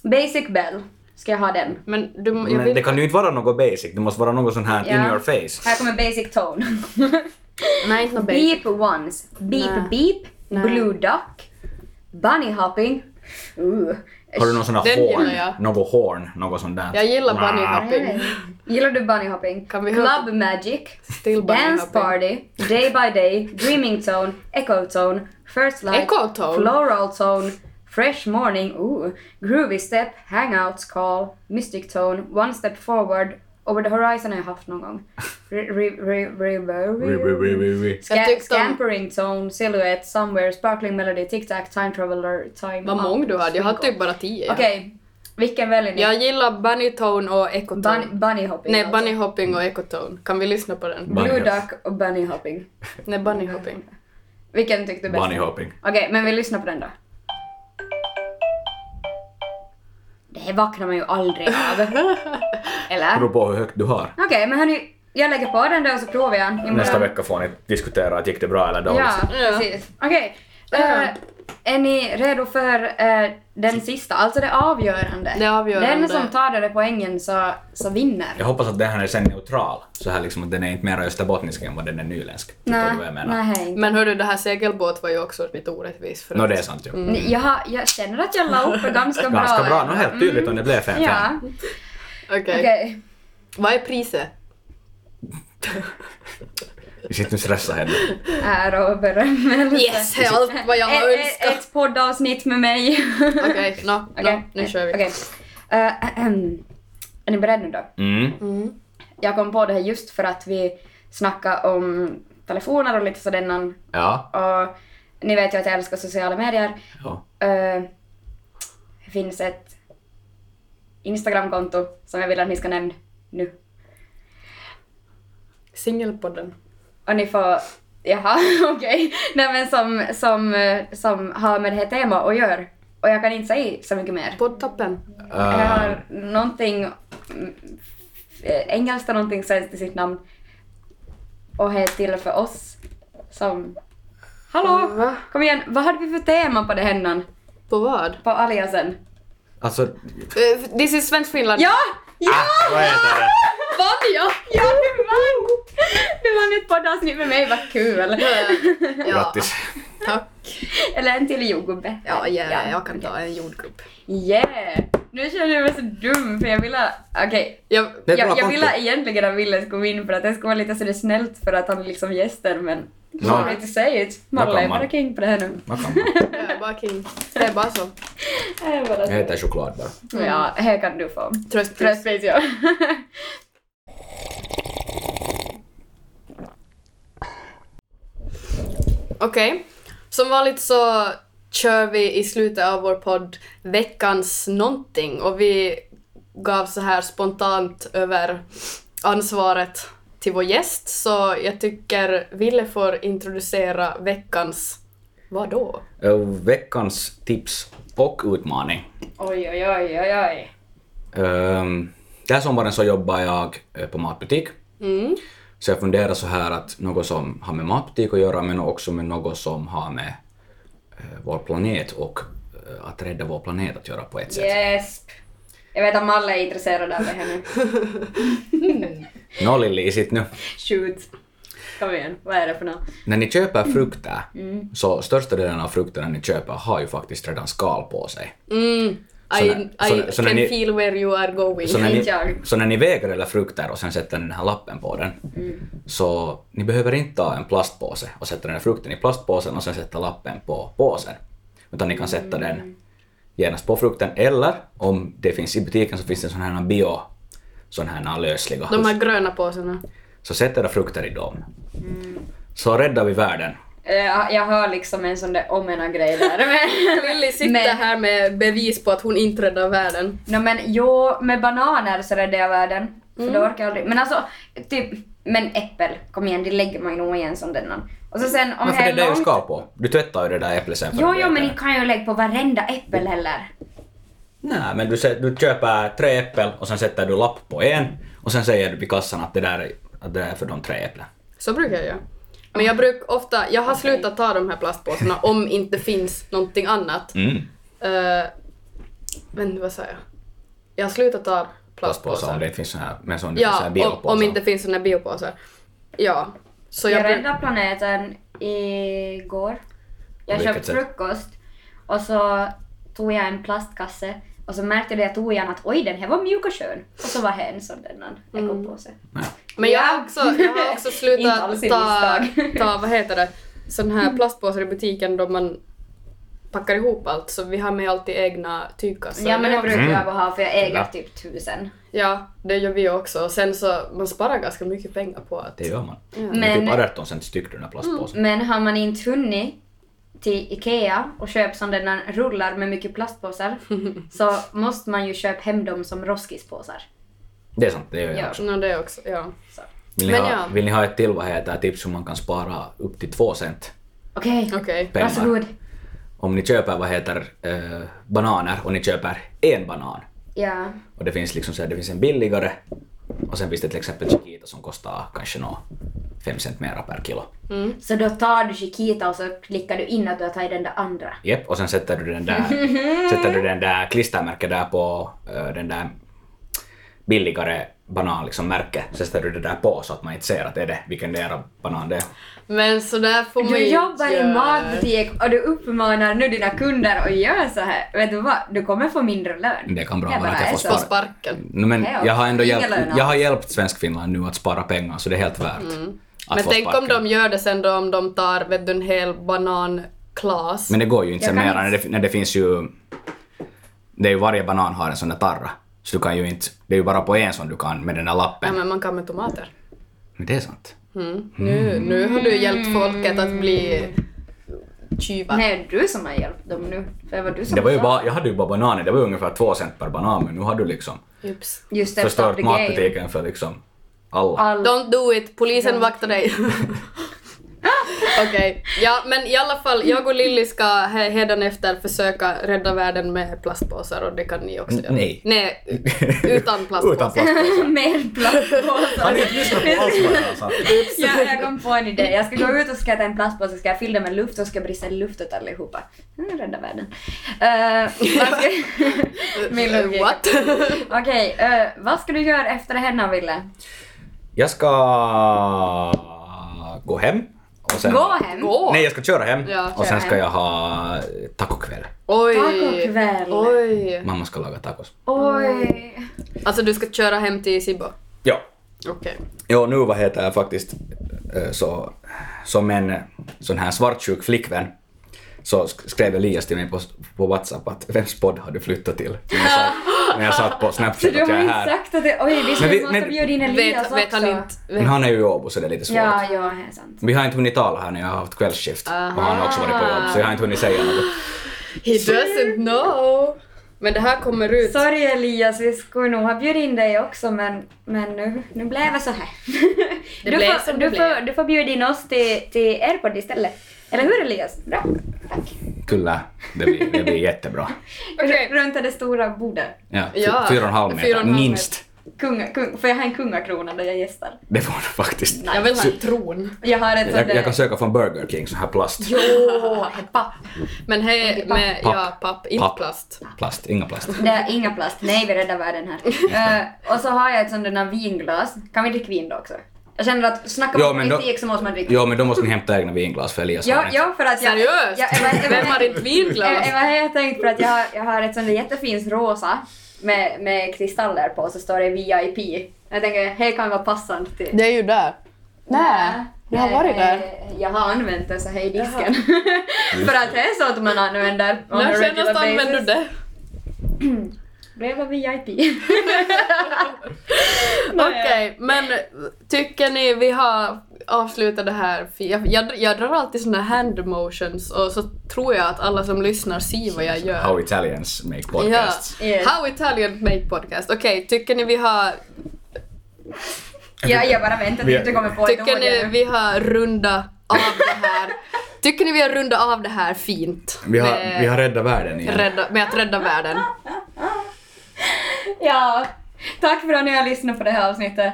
[SPEAKER 2] Basic Bell. Ska jag ha den?
[SPEAKER 1] Men du, jag
[SPEAKER 3] Men
[SPEAKER 1] vill,
[SPEAKER 3] det kan ju inte vara något basic, det måste vara något sån här in
[SPEAKER 2] Ja.
[SPEAKER 3] your face.
[SPEAKER 2] Här kommer Basic Tone.
[SPEAKER 1] Nej, inte något basic.
[SPEAKER 2] beep Ones. Beep
[SPEAKER 1] Nej.
[SPEAKER 2] Beep.
[SPEAKER 1] Nej.
[SPEAKER 2] Blue Duck. Bunny Hopping. Uh.
[SPEAKER 3] Har du någon sån här
[SPEAKER 1] Den gillar
[SPEAKER 3] horn?
[SPEAKER 1] jag.
[SPEAKER 3] Något horn, något sånt där.
[SPEAKER 1] Jag gillar bunny
[SPEAKER 3] Nah.
[SPEAKER 1] hopping.
[SPEAKER 2] Nej. Gillar du bunny hopping?
[SPEAKER 1] Kan vi
[SPEAKER 2] Club
[SPEAKER 1] höra-
[SPEAKER 2] Magic,
[SPEAKER 1] Still bunny
[SPEAKER 2] Dance
[SPEAKER 1] hopping.
[SPEAKER 2] Party, Day by Day, Dreaming Zone, Echo Zone, First Light,
[SPEAKER 1] Echo Zone?
[SPEAKER 2] Floral Zone, Fresh Morning, ooh, Groovy Step, Hangouts Call, Mystic Zone, One Step Forward, Over the Horizon har jag haft någon gång. Re- re- re-
[SPEAKER 3] Wi, wi, wi,
[SPEAKER 2] reverie-
[SPEAKER 3] wi, wi.
[SPEAKER 1] Jag
[SPEAKER 2] Sca-
[SPEAKER 1] tyckte om-
[SPEAKER 2] Scampering Zone, Silhouette, Somewhere, Sparkling Melody, Tic Tac, Time Traveler, Time
[SPEAKER 1] Vad
[SPEAKER 2] Out,
[SPEAKER 1] många du hade, jag hade
[SPEAKER 2] Twinkle.
[SPEAKER 1] typ bara tio. ja.
[SPEAKER 2] Okej, vilken väljer ni?
[SPEAKER 1] Jag gillar bunny tone och echo tone.
[SPEAKER 2] Bunny, bunny hopping
[SPEAKER 1] Nej,
[SPEAKER 2] alltså.
[SPEAKER 1] bunny hopping och echo tone. Kan vi lyssna på den?
[SPEAKER 2] Blue
[SPEAKER 3] Bunny
[SPEAKER 2] Duck och Bunny Hopping.
[SPEAKER 1] Nej, bunny hopping.
[SPEAKER 2] Vilken tyckte du bäst?
[SPEAKER 3] Bunny hopping.
[SPEAKER 2] Okej, men vi lyssnar på den då. Det här vaknar man ju aldrig av. Eller?
[SPEAKER 3] Beror
[SPEAKER 2] Okej,
[SPEAKER 3] på hur högt du har.
[SPEAKER 2] men hörni. Jag lägger på den där och så provar jag. Imorgon.
[SPEAKER 3] Nästa vecka får ni diskutera att gick det bra eller dåligt.
[SPEAKER 2] Ja,
[SPEAKER 1] Ja.
[SPEAKER 2] precis. Okej. eh,
[SPEAKER 1] Ja.
[SPEAKER 2] är ni redo för eh, den sista, alltså det avgörande?
[SPEAKER 1] Det avgörande.
[SPEAKER 2] Den som tar den där poängen så, så vinner.
[SPEAKER 3] Jag hoppas att den här är sen neutral, så här liksom att den är inte mer österbottnisk än vad den är nyländsk. Förstår du vad jag menar?
[SPEAKER 2] nej. inte.
[SPEAKER 1] Men hördu, det här segelbåt var ju också lite orättvist. För
[SPEAKER 3] Nå
[SPEAKER 1] att-
[SPEAKER 3] det är sant ju.
[SPEAKER 1] Mm.
[SPEAKER 2] Ni- Jag, har- jag känner att jag la upp det ganska bra.
[SPEAKER 3] Ganska bra, nå
[SPEAKER 2] ändå.
[SPEAKER 1] Mm.
[SPEAKER 3] helt tydligt om det blev 5-5.
[SPEAKER 2] Ja,
[SPEAKER 1] Okej.
[SPEAKER 2] okej.
[SPEAKER 1] Vad är priset?
[SPEAKER 3] Vi sitter nu och stressar henne.
[SPEAKER 2] Ära och berömmelse.
[SPEAKER 1] Yes, det är allt vad jag har
[SPEAKER 2] Ett- ett-
[SPEAKER 1] önskat.
[SPEAKER 2] Ett poddavsnitt med mig.
[SPEAKER 1] Okej, nå, nå,
[SPEAKER 2] eh. Okej.
[SPEAKER 1] nu kör vi.
[SPEAKER 2] Okej. Eh, ahem. är ni beredda nu då?
[SPEAKER 3] Mm.
[SPEAKER 1] Mm.
[SPEAKER 2] Jag kom på det här just för att vi snackade om telefoner och lite sådant.
[SPEAKER 3] Ja.
[SPEAKER 2] Och ni vet ju att jag älskar sociala medier.
[SPEAKER 3] ja.
[SPEAKER 2] Eh, det finns ett Instagramkonto som jag vill att ni ska nämna nu.
[SPEAKER 1] Singelpodden.
[SPEAKER 2] Och ni får... Jaha, okej. Nej men som, som, eh, som har med det här temat att göra. Och jag kan inte säga så mycket mer.
[SPEAKER 1] Poddtappen.
[SPEAKER 2] Jag
[SPEAKER 3] Äh,
[SPEAKER 2] har någonting... mm, eh, Engelskt och någonting svenskt i sitt namn. Och här till för oss som... Hallå!
[SPEAKER 1] Va?
[SPEAKER 2] Kom igen, vad hade vi för tema på det här
[SPEAKER 1] På vad?
[SPEAKER 2] På aliasen?
[SPEAKER 3] alltså...
[SPEAKER 1] Eh, This is Svensk Finland.
[SPEAKER 2] Ja! Ja!
[SPEAKER 3] Ah, vad heter det?
[SPEAKER 1] Vann jag?
[SPEAKER 2] Ja, du vann! Du vann ett poddavsnitt med mig, vad kul!
[SPEAKER 1] Ja.
[SPEAKER 3] Grattis.
[SPEAKER 1] Tack.
[SPEAKER 2] Eller en till jordgubbe.
[SPEAKER 1] Ja, yeah, jag kan ta en jordgubb.
[SPEAKER 2] Yeah! Nu känner jag mig så dum för jag ville... Okej.
[SPEAKER 1] Jag,
[SPEAKER 3] Det är
[SPEAKER 2] Jag,
[SPEAKER 3] ett bra
[SPEAKER 2] jag
[SPEAKER 3] konto.
[SPEAKER 2] ville egentligen att Ville skulle gå in för att det skulle vara lite sådär snällt för att han är liksom gäster men...
[SPEAKER 3] Nå.
[SPEAKER 2] Sorry to say it. Malle är
[SPEAKER 3] man.
[SPEAKER 2] bara king på det här nu.
[SPEAKER 3] Vad kan man?
[SPEAKER 1] jag är bara king. Det är bara så.
[SPEAKER 2] Jag är bara
[SPEAKER 3] Jag heter choklad bara.
[SPEAKER 2] så- Mm. Ja, här kan du få.
[SPEAKER 1] Tröst.
[SPEAKER 2] Tröstpris ja.
[SPEAKER 1] Okej. Som vanligt så kör vi i slutet av vår podd veckans någonting och vi gav så här spontant över ansvaret till vår gäst så jag tycker Ville får introducera veckans vadå?
[SPEAKER 3] Eh, Veckans tips och utmaning.
[SPEAKER 2] Oj, oj, oj, oj, oj.
[SPEAKER 3] Ehm, Um, den här sommaren så jobbar jag eh, på matbutik.
[SPEAKER 1] Mm.
[SPEAKER 3] Så jag funderar så här att något som har med matematik att göra men också med något som har med eh, vår planet och eh, att rädda vår planet att göra på ett sätt.
[SPEAKER 2] Yes. Jag vet att alla är intresserade av det här nu.
[SPEAKER 3] Nå lillisigt nu.
[SPEAKER 2] Shoot. Kom igen, vad är det för något?
[SPEAKER 3] När ni
[SPEAKER 2] Mm.
[SPEAKER 3] köper frukter så största delen av frukterna ni köper har ju faktiskt redan skal på sig.
[SPEAKER 1] Mm. I,
[SPEAKER 3] Så när-
[SPEAKER 1] I
[SPEAKER 3] så när- så när
[SPEAKER 1] can
[SPEAKER 3] ni-
[SPEAKER 1] feel where you are going.
[SPEAKER 3] Så när,
[SPEAKER 2] Inte
[SPEAKER 3] ni,
[SPEAKER 2] jag.
[SPEAKER 3] så när ni väger eller frukter och sen sätter ni den här lappen på den,
[SPEAKER 2] Mm.
[SPEAKER 3] så ni behöver inte ta en plastpåse och sätta den här frukten i plastpåsen och sen sätta lappen på påsen. Utan ni kan sätta den genast på frukten, eller om det finns i butiken så finns det sådana här bio, sådana här lösliga.
[SPEAKER 1] De här gröna påsarna.
[SPEAKER 3] Så sätt era frukter i dem. Så räddar vi världen.
[SPEAKER 2] Mm. Eh, Jag har liksom en sån där omena-grej där. Men,
[SPEAKER 1] Lilly sitter
[SPEAKER 2] men,
[SPEAKER 1] här med bevis på att hon inte räddar världen.
[SPEAKER 2] no, men jo, med bananer så räddar jag världen. För då orkar jag aldrig. Men alltså, typ, men äppel, kom igen, det lägger man ju nog i en sån där. nån. Och så sen om
[SPEAKER 3] Men för det
[SPEAKER 2] här
[SPEAKER 3] är det
[SPEAKER 2] är
[SPEAKER 3] ju
[SPEAKER 2] långt...
[SPEAKER 3] skal på. Du tvättar ju det där äpplet sen. för
[SPEAKER 2] Jo,
[SPEAKER 3] att Mm. du
[SPEAKER 2] jo,
[SPEAKER 3] äter
[SPEAKER 2] men
[SPEAKER 3] det.
[SPEAKER 2] ni kan ju lägga på varenda äppel heller.
[SPEAKER 3] Nej, men du, sä- du köper tre äpplen och sen sätter du lapp på en och sen säger du vid kassan att det där, är- att det där är för de tre äpplen.
[SPEAKER 1] Så brukar jag göra. Men jag brukar ofta, jag har slutat ta de här plastpåsarna om inte finns någonting annat.
[SPEAKER 3] Mm.
[SPEAKER 1] Eh, men vad sa jag? Jag har slutat ta
[SPEAKER 3] Plastpåsar om
[SPEAKER 1] plastpåsar.
[SPEAKER 3] det finns sån här, men som det finns sån
[SPEAKER 1] Ja,
[SPEAKER 3] här
[SPEAKER 1] om,
[SPEAKER 3] biopåsar.
[SPEAKER 1] om inte finns såna här biopåsar. Ja. Så jag
[SPEAKER 2] Jag
[SPEAKER 1] brukar...
[SPEAKER 2] räddade planeten igår. Jag
[SPEAKER 3] På vilket
[SPEAKER 2] köpte
[SPEAKER 3] sätt?
[SPEAKER 2] frukost och så tog jag en plastkasse och så märkte det jag tog igen att oj den här var mjuk och skön. Och så var här en sån där någon jag kom på sig.
[SPEAKER 3] Nej.
[SPEAKER 1] Men jag har
[SPEAKER 2] Ja.
[SPEAKER 1] också, jag har också
[SPEAKER 2] Inte
[SPEAKER 1] slutat
[SPEAKER 2] alls i
[SPEAKER 1] ta,
[SPEAKER 2] misstag.
[SPEAKER 1] ta, vad heter det, sån här plastpåsar i butiken då man packar ihop allt så vi har med alltid egna tygkassar.
[SPEAKER 2] Ja men det brukar
[SPEAKER 3] Mm.
[SPEAKER 2] jag ha för jag äger
[SPEAKER 3] Ja.
[SPEAKER 2] typ tusen.
[SPEAKER 1] Ja, det gör vi också. Och sen så, man sparar ganska mycket pengar på att...
[SPEAKER 3] Det gör man.
[SPEAKER 1] Ja.
[SPEAKER 3] Det är
[SPEAKER 2] Men-
[SPEAKER 3] typ 18 cent styck den här plastpåsen.
[SPEAKER 2] Men har man inte hunnit till IKEA och köpt sån där när rullar med mycket plastpåsar så måste man ju köpa hem dem som roskispåsar.
[SPEAKER 3] Det är sant, det gör jag
[SPEAKER 2] Ja.
[SPEAKER 3] också.
[SPEAKER 1] No, det också, ja.
[SPEAKER 2] Så.
[SPEAKER 3] Vill ni,
[SPEAKER 1] Men
[SPEAKER 3] ha,
[SPEAKER 1] ja.
[SPEAKER 3] vill ni ha ett till vad heter tips hur man kan spara upp till 2 cent
[SPEAKER 2] Okej,
[SPEAKER 1] Okej.
[SPEAKER 3] pengar?
[SPEAKER 2] varsågod.
[SPEAKER 3] Om ni köper vad heter eh, bananer och ni köper en banan
[SPEAKER 2] Ja.
[SPEAKER 3] och det finns liksom så här, det finns en billigare och sen finns det till exempel Chiquita som kostar kanske nå 5 cent mera per kilo.
[SPEAKER 2] Så då tar du Chiquita och så klickar du in att du har tagit den där andra.
[SPEAKER 3] Jep, och sen sätter du den där, sätter du den där klistermärket där på eh, den där billigare banan liksom märke, så sätter du det där på så att man inte ser att det är det, vilken där banan det är.
[SPEAKER 1] Men sådär får man
[SPEAKER 2] Du
[SPEAKER 1] ju
[SPEAKER 2] jobbar
[SPEAKER 1] inte
[SPEAKER 2] i
[SPEAKER 1] göra.
[SPEAKER 2] matbutik och du uppmanar nu dina kunder att göra så här. Vet du vad? Du kommer få mindre lön.
[SPEAKER 3] Det kan bra
[SPEAKER 2] Det
[SPEAKER 3] vara
[SPEAKER 2] bara
[SPEAKER 3] att jag
[SPEAKER 2] är
[SPEAKER 3] får
[SPEAKER 2] så.
[SPEAKER 1] På
[SPEAKER 3] spara.
[SPEAKER 1] sparken.
[SPEAKER 3] No, men
[SPEAKER 2] Hej,
[SPEAKER 3] jag har ändå
[SPEAKER 2] ingen
[SPEAKER 3] hjälpt,
[SPEAKER 2] lön
[SPEAKER 3] jag har hjälpt Svensk Finland nu att spara pengar så det är helt värt.
[SPEAKER 2] Mm.
[SPEAKER 3] Att
[SPEAKER 1] Men
[SPEAKER 3] få
[SPEAKER 1] tänk om
[SPEAKER 3] sparken.
[SPEAKER 1] de gör det sen då om de tar, vet du, en hel bananklas.
[SPEAKER 3] Men det går ju inte
[SPEAKER 2] Jag
[SPEAKER 3] sen
[SPEAKER 2] kan
[SPEAKER 3] mera när
[SPEAKER 2] inte-
[SPEAKER 3] det, när det finns ju... Det är ju varje banan har en sån där tarra. Så du kan ju inte... Det är ju bara på en som du kan med den där
[SPEAKER 1] Ja,
[SPEAKER 3] lappen.
[SPEAKER 1] men man kan med tomater.
[SPEAKER 3] Men det är sant.
[SPEAKER 1] Mm. Nu, nu har du hjälpt folket att bli tjuvar.
[SPEAKER 2] Nej, du som har hjälpt dem nu. För det var du som
[SPEAKER 3] Det var ju
[SPEAKER 2] sa.
[SPEAKER 3] bara, jag hade ju bara bananer, det var ju ungefär två cent per banan men nu har du liksom
[SPEAKER 1] Jups.
[SPEAKER 2] Just det, stop
[SPEAKER 3] förstört
[SPEAKER 2] the game.
[SPEAKER 3] matbutiken för liksom alla.
[SPEAKER 2] All...
[SPEAKER 1] Don't do it, polisen vaktar dig. Okej, ja men i alla fall, jag och Lilly ska he- hädanefter försöka rädda världen med plastpåsar och det kan ni också göra.
[SPEAKER 3] Nej.
[SPEAKER 1] Nej, utan plastpåsar.
[SPEAKER 3] Utan plastpåsar.
[SPEAKER 2] Mer
[SPEAKER 3] Har
[SPEAKER 2] plastpåsar.
[SPEAKER 3] ni inte lyssnat på alls alltså. vad jag har sagt?
[SPEAKER 2] ja, jag kom på en idé. Jag ska gå ut och ska ta en plastpåse, ska jag fylla den med luft och ska brista luft åt allihopa. Mm, rädda världen. Eh, vad ska... Min logik.
[SPEAKER 1] What?
[SPEAKER 2] Okej, eh, vad ska du göra efter det här Naville?
[SPEAKER 3] Jag ska gå hem och sen...
[SPEAKER 2] Gå hem?
[SPEAKER 1] Gå!
[SPEAKER 3] Nej, jag ska köra hem
[SPEAKER 1] Ja,
[SPEAKER 3] och
[SPEAKER 2] köra
[SPEAKER 3] sen ska
[SPEAKER 2] hem.
[SPEAKER 3] jag ha tacokväll.
[SPEAKER 1] Oj!
[SPEAKER 2] Tacokväll.
[SPEAKER 1] Oj!
[SPEAKER 3] Mamma ska laga tacos.
[SPEAKER 2] Oj.
[SPEAKER 1] Alltså du ska köra hem till Sibbo?
[SPEAKER 3] Ja.
[SPEAKER 1] Okej.
[SPEAKER 3] Ja, nu vad heter jag faktiskt eh, så, som en eh, sån här svartsjuk flickvän så sk- skrev Elias till mig på, på Whatsapp att vems podd har du flyttat till? När jag satt, när jag satt på
[SPEAKER 2] Så
[SPEAKER 3] Snapchat
[SPEAKER 2] du
[SPEAKER 3] att
[SPEAKER 2] har
[SPEAKER 3] jag är
[SPEAKER 2] inte
[SPEAKER 3] här.
[SPEAKER 2] sagt att det... Oj, vi ska
[SPEAKER 3] Men vi-
[SPEAKER 2] måste
[SPEAKER 3] men-
[SPEAKER 2] bjuda in Elias
[SPEAKER 1] Vet,
[SPEAKER 2] också.
[SPEAKER 1] vet han inte...
[SPEAKER 3] Men
[SPEAKER 1] Vet,
[SPEAKER 3] han är ju i Åbo så det är lite svårt.
[SPEAKER 2] Ja, ja, det är sant.
[SPEAKER 3] Vi har inte hunnit tala här när jag har haft kvällsskift och han har också varit på jobb så jag har inte hunnit säga något.
[SPEAKER 1] he doesn't know! Men det här kommer ut.
[SPEAKER 2] Sorry Elias, vi skulle nog ha bjudit in dig också men, men nu, nu blev det så här.
[SPEAKER 1] Det
[SPEAKER 2] du,
[SPEAKER 1] blev
[SPEAKER 2] får,
[SPEAKER 1] som
[SPEAKER 2] du,
[SPEAKER 1] det
[SPEAKER 2] får,
[SPEAKER 1] blev.
[SPEAKER 2] du får bjuda in oss till, till er podd istället. Eller hur Elias? Bra, tack.
[SPEAKER 3] Kulla, det blir, det blir jättebra.
[SPEAKER 1] Okej.
[SPEAKER 2] Runt det stora bordet.
[SPEAKER 3] Ja, fy-
[SPEAKER 1] Ja,
[SPEAKER 3] fyra och en halv
[SPEAKER 1] fyra och
[SPEAKER 3] meter,
[SPEAKER 1] en halv
[SPEAKER 3] minst.
[SPEAKER 2] Kunga, kung, för jag har en kungakrona där jag gästar.
[SPEAKER 3] Det får du faktiskt.
[SPEAKER 1] Jag vill ha en tron.
[SPEAKER 2] Jag har ett sånt
[SPEAKER 3] Jag,
[SPEAKER 2] där...
[SPEAKER 3] jag kan söka från Burger King, sån här plast.
[SPEAKER 2] Jo, heppa.
[SPEAKER 1] Men hej med,
[SPEAKER 3] Papp.
[SPEAKER 1] ja, papp, inte
[SPEAKER 3] Papp.
[SPEAKER 1] plast.
[SPEAKER 3] Plast, inga plast.
[SPEAKER 2] Det är inga plast. Nej, vi räddar världen här. Eh, och så har jag ett sånt där vinglas. Kan vi dricka vin då också? Jag känner att snackar
[SPEAKER 3] Ja,
[SPEAKER 2] man
[SPEAKER 3] men då-
[SPEAKER 2] politik så måste man dricka.
[SPEAKER 3] Jo, men då måste ni hämta egna vinglas för Elias
[SPEAKER 2] Ja,
[SPEAKER 3] har inte.
[SPEAKER 2] ja, för att jag...
[SPEAKER 1] Seriöst?
[SPEAKER 2] Ja, Eva- Eva-
[SPEAKER 1] Vem har inte vinglas?
[SPEAKER 2] Eva, jag har tänkt för att jag har, jag har ett sånt där jättefint rosa med, med kristaller på så står det VIP. Jag tänker, hej kan vara passande till...
[SPEAKER 1] Det är ju där. Nej, jag har varit
[SPEAKER 2] Eh, eh,
[SPEAKER 1] där.
[SPEAKER 2] Jag har använt det så hej disken. för att det är så att man använder on
[SPEAKER 1] När
[SPEAKER 2] a regular
[SPEAKER 1] senast
[SPEAKER 2] basis.
[SPEAKER 1] använde du det?
[SPEAKER 2] Blev jag VIP?
[SPEAKER 1] Okej, men tycker ni vi har avslutat det här? För Jag, jag, jag drar alltid såna här hand motions och så tror jag att alla som lyssnar ser vad jag gör.
[SPEAKER 3] How Italians make podcasts.
[SPEAKER 1] Ja.
[SPEAKER 2] Yes.
[SPEAKER 1] How Italian Make Podcast. Okej, tycker ni vi har,
[SPEAKER 2] ja, jag bara väntar tills du kommer på ett
[SPEAKER 1] tycker
[SPEAKER 2] ord
[SPEAKER 1] ni
[SPEAKER 2] ännu.
[SPEAKER 1] vi har runda av det här? Tycker ni vi har runda av det här fint?
[SPEAKER 3] Vi har,
[SPEAKER 1] med,
[SPEAKER 3] vi har räddat världen igen.
[SPEAKER 1] rädda, med att rädda världen.
[SPEAKER 2] Ja, tack för att ni har lyssnat på det här avsnittet.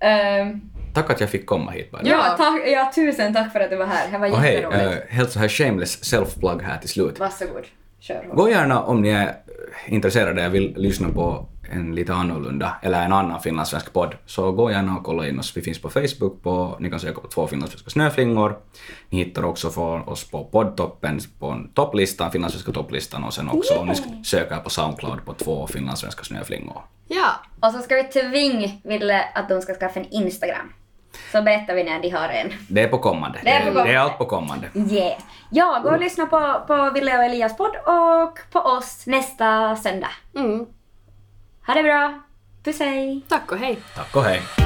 [SPEAKER 2] Ehm,
[SPEAKER 3] Tack att jag fick komma hit bara.
[SPEAKER 2] ja, tack, ja, tusen tack för att du var här. Det var
[SPEAKER 3] Och hej,
[SPEAKER 2] jätteroligt.
[SPEAKER 3] eh, helt så här shameless self-plug här till slut.
[SPEAKER 2] Varsågod, kör hårt.
[SPEAKER 3] Gå gärna om ni är intresserade och vill lyssna på en lite annorlunda eller en annan finlandssvensk podd så gå gärna och kolla in oss. Vi finns på Facebook, på, ni kan söka på två finlandssvenska snöflingor. Ni hittar också från oss på poddtoppen, på topplistan, finlandssvenska topplistan och sen också om ni sk- söker på Soundcloud på två finlandssvenska snöflingor.
[SPEAKER 1] Ja,
[SPEAKER 2] Och så ska vi tvinga Ville att de ska skaffa en Instagram. Så berättar vi när de har en.
[SPEAKER 3] Det är på kommande.
[SPEAKER 2] Det är på kommande.
[SPEAKER 3] det är allt på kommande.
[SPEAKER 2] Yeah. Ja,
[SPEAKER 3] Mm.
[SPEAKER 2] gå och lyssna på, på Ville och Elias podd och på oss nästa söndag.
[SPEAKER 1] mm,
[SPEAKER 2] Ha det bra. Puss hej.
[SPEAKER 1] tack och hej.
[SPEAKER 3] Tack och hej.